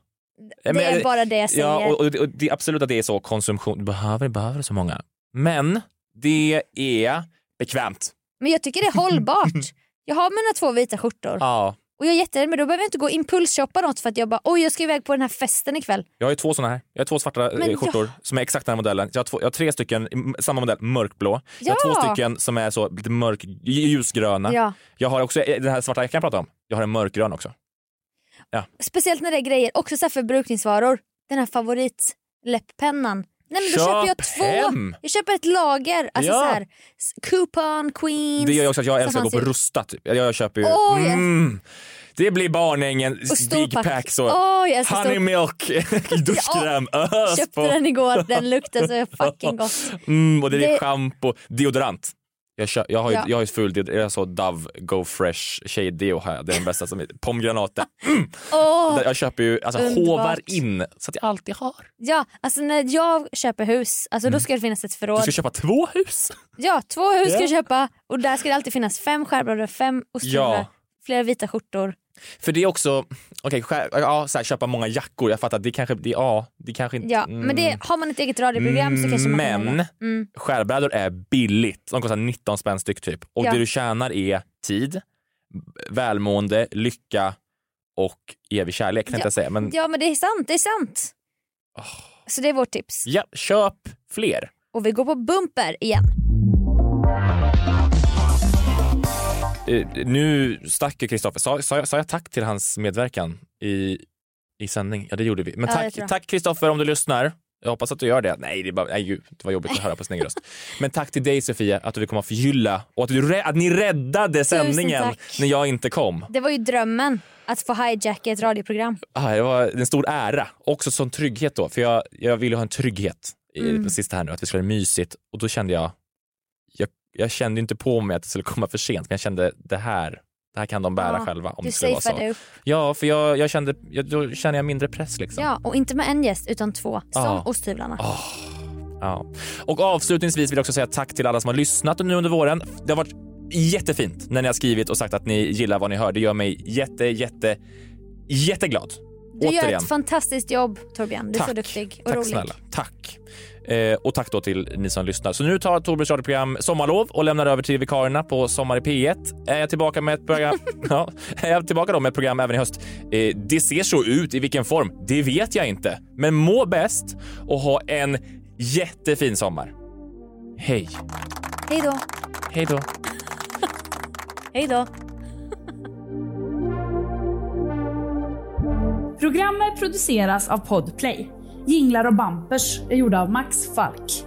Speaker 8: Det är bara det jag säger.
Speaker 5: Ja, och, och, och det är absolut att det är så konsumtion. Du behöver, behöver så många. Men det är bekvämt.
Speaker 8: Men jag tycker det är hållbart. Jag har mina två vita skjortor.
Speaker 5: Ja.
Speaker 8: Och jag är jättenöjd men då behöver jag inte gå och impulsshoppa något för att jag bara oj jag ska iväg på den här festen ikväll.
Speaker 5: Jag har ju två såna här. Jag har två svarta eh,
Speaker 8: Men ja.
Speaker 5: skjortor som är exakt den här modellen. Jag har, två, jag har tre stycken, m- samma modell, mörkblå. Jag har
Speaker 8: Ja.
Speaker 5: två stycken som är så lite mörk, ljusgröna.
Speaker 8: Ja.
Speaker 5: Jag har också eh, den här svarta jackan jag pratade om. Jag har en mörkgrön också. Ja.
Speaker 8: Speciellt när det är grejer, också så här förbrukningsvaror. Den här favoritläpppennan. Nej men då
Speaker 5: Köp
Speaker 8: köper jag två.
Speaker 5: hem!
Speaker 8: Jag köper ett lager. Alltså
Speaker 5: Ja.
Speaker 8: så här, s- coupon, queens.
Speaker 5: Det gör jag också att jag
Speaker 8: som
Speaker 5: älskar att gå
Speaker 8: fanns
Speaker 5: på
Speaker 8: ju.
Speaker 5: Rusta. Typ. Jag, jag köper ju...
Speaker 8: Åh, yes.
Speaker 5: mm, det blir barnängen,
Speaker 8: Och
Speaker 5: big
Speaker 8: storpack.
Speaker 5: pack så.
Speaker 8: Åh, jag älskar
Speaker 5: Honey milk, duschkräm, ös
Speaker 8: Köpte
Speaker 5: på.
Speaker 8: den igår, den luktar så fucking gott.
Speaker 5: Mm, och det är
Speaker 8: Det-
Speaker 5: schampo, deodorant. Jag, kö, jag har ju,
Speaker 8: Ja.
Speaker 5: jag har ju full deodorant, jag har så Dove Go Fresh tjej-deo här, det är den bästa som är. Pomgranata.
Speaker 8: Åh,
Speaker 5: Där Jag köper ju, alltså
Speaker 8: underbart.
Speaker 5: håvar in så att jag alltid har.
Speaker 8: Ja, alltså när jag köper hus, alltså då ska det finnas ett förråd.
Speaker 5: Mm. Du ska köpa två hus.
Speaker 8: Ja, två hus ska
Speaker 5: Ja.
Speaker 8: jag köpa och där ska det alltid finnas fem skärbröd, fem ostkulor,
Speaker 5: Ja.
Speaker 8: flera vita skjortor.
Speaker 5: För det är också, okej, skär- ja, så här, köpa många jackor, jag fattar, det kanske, det, ja, det kanske inte...
Speaker 8: Ja, men det, har man ett eget radioprogram så kanske man kan
Speaker 5: Mm. Men-
Speaker 8: göra det. mm.
Speaker 5: Skärbrädor är billigt, de kostar 19 spänn styck typ. Och
Speaker 8: Ja.
Speaker 5: det du tjänar är tid, välmående, lycka och evig kärlek tänkte jag säga. Men ja.
Speaker 8: Ja men det är sant, det är sant. Så det är vårt tips.
Speaker 5: köp fler.
Speaker 8: Och vi går på bumper igen.
Speaker 5: Eh, nu stack ju Kristoffer. Sa, sa, jag- sa jag tack till hans medverkan i, i sändning? Ja, det gjorde vi. Men
Speaker 8: Ja, det
Speaker 5: tack
Speaker 8: tror jag.
Speaker 5: tack Kristoffer om du lyssnar. Jag hoppas att du gör det. Nej, det, är bara, nej, gud, det var jobbigt att höra på sin egen röst. Men tack till dig Sofia att du vill komma och förgylla och att, du, rä- att ni räddade sändningen
Speaker 8: tack.
Speaker 5: när jag inte kom.
Speaker 8: Det var ju drömmen att få hijacka ett radioprogram.
Speaker 5: Ah, det var en stor ära. Också som trygghet då, för jag, jag ville ha en trygghet i
Speaker 8: Mm.
Speaker 5: det sista här nu, att vi skulle ha det mysigt. Och då kände jag, jag, jag kände ju inte på mig att det skulle komma för sent, men jag kände det här, det här kan de bära
Speaker 8: Ja,
Speaker 5: själva om
Speaker 8: du
Speaker 5: det skulle vara
Speaker 8: safeade
Speaker 5: så.
Speaker 8: upp.
Speaker 5: Ja, för jag, jag kände, jag, då kände jag mindre press liksom.
Speaker 8: Ja, och inte med en gäst utan två, som
Speaker 5: Ja.
Speaker 8: osthyvlarna.
Speaker 5: Ja. Och avslutningsvis vill jag också säga tack till alla som har lyssnat nu under våren. Det har varit jättefint när ni har skrivit och sagt att ni gillar vad ni hör. Det gör mig jätte, jätte, jätteglad.
Speaker 8: Du gör ett fantastiskt jobb Torbjörn, du är så
Speaker 5: Tack.
Speaker 8: duktig och
Speaker 5: Tack
Speaker 8: rolig.
Speaker 5: snälla. Tack. Eh, och tack då till ni som lyssnar. Så nu tar Torbjörns radioprogram sommarlov och lämnar över till vikarierna på Sommar i P1. Är jag tillbaka med ett program? ja, är jag tillbaka då med ett program även i höst? Eh, det ser så ut. I vilken form? Det vet jag inte. Men må bäst och ha en jättefin sommar. Hej.
Speaker 8: Hej då.
Speaker 5: Hej då.
Speaker 8: Hej då.
Speaker 13: Programmet produceras av Podplay. Jinglar och bampers är gjorda av Max Falk.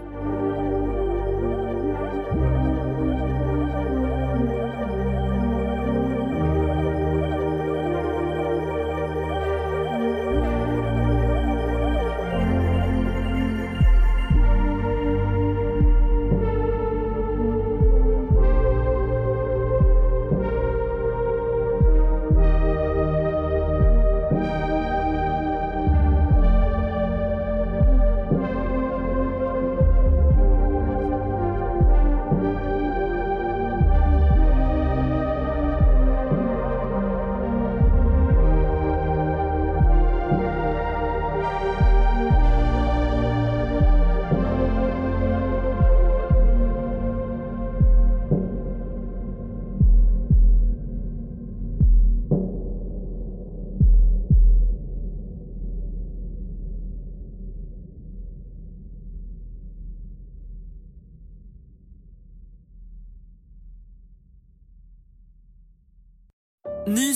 Speaker 1: Ny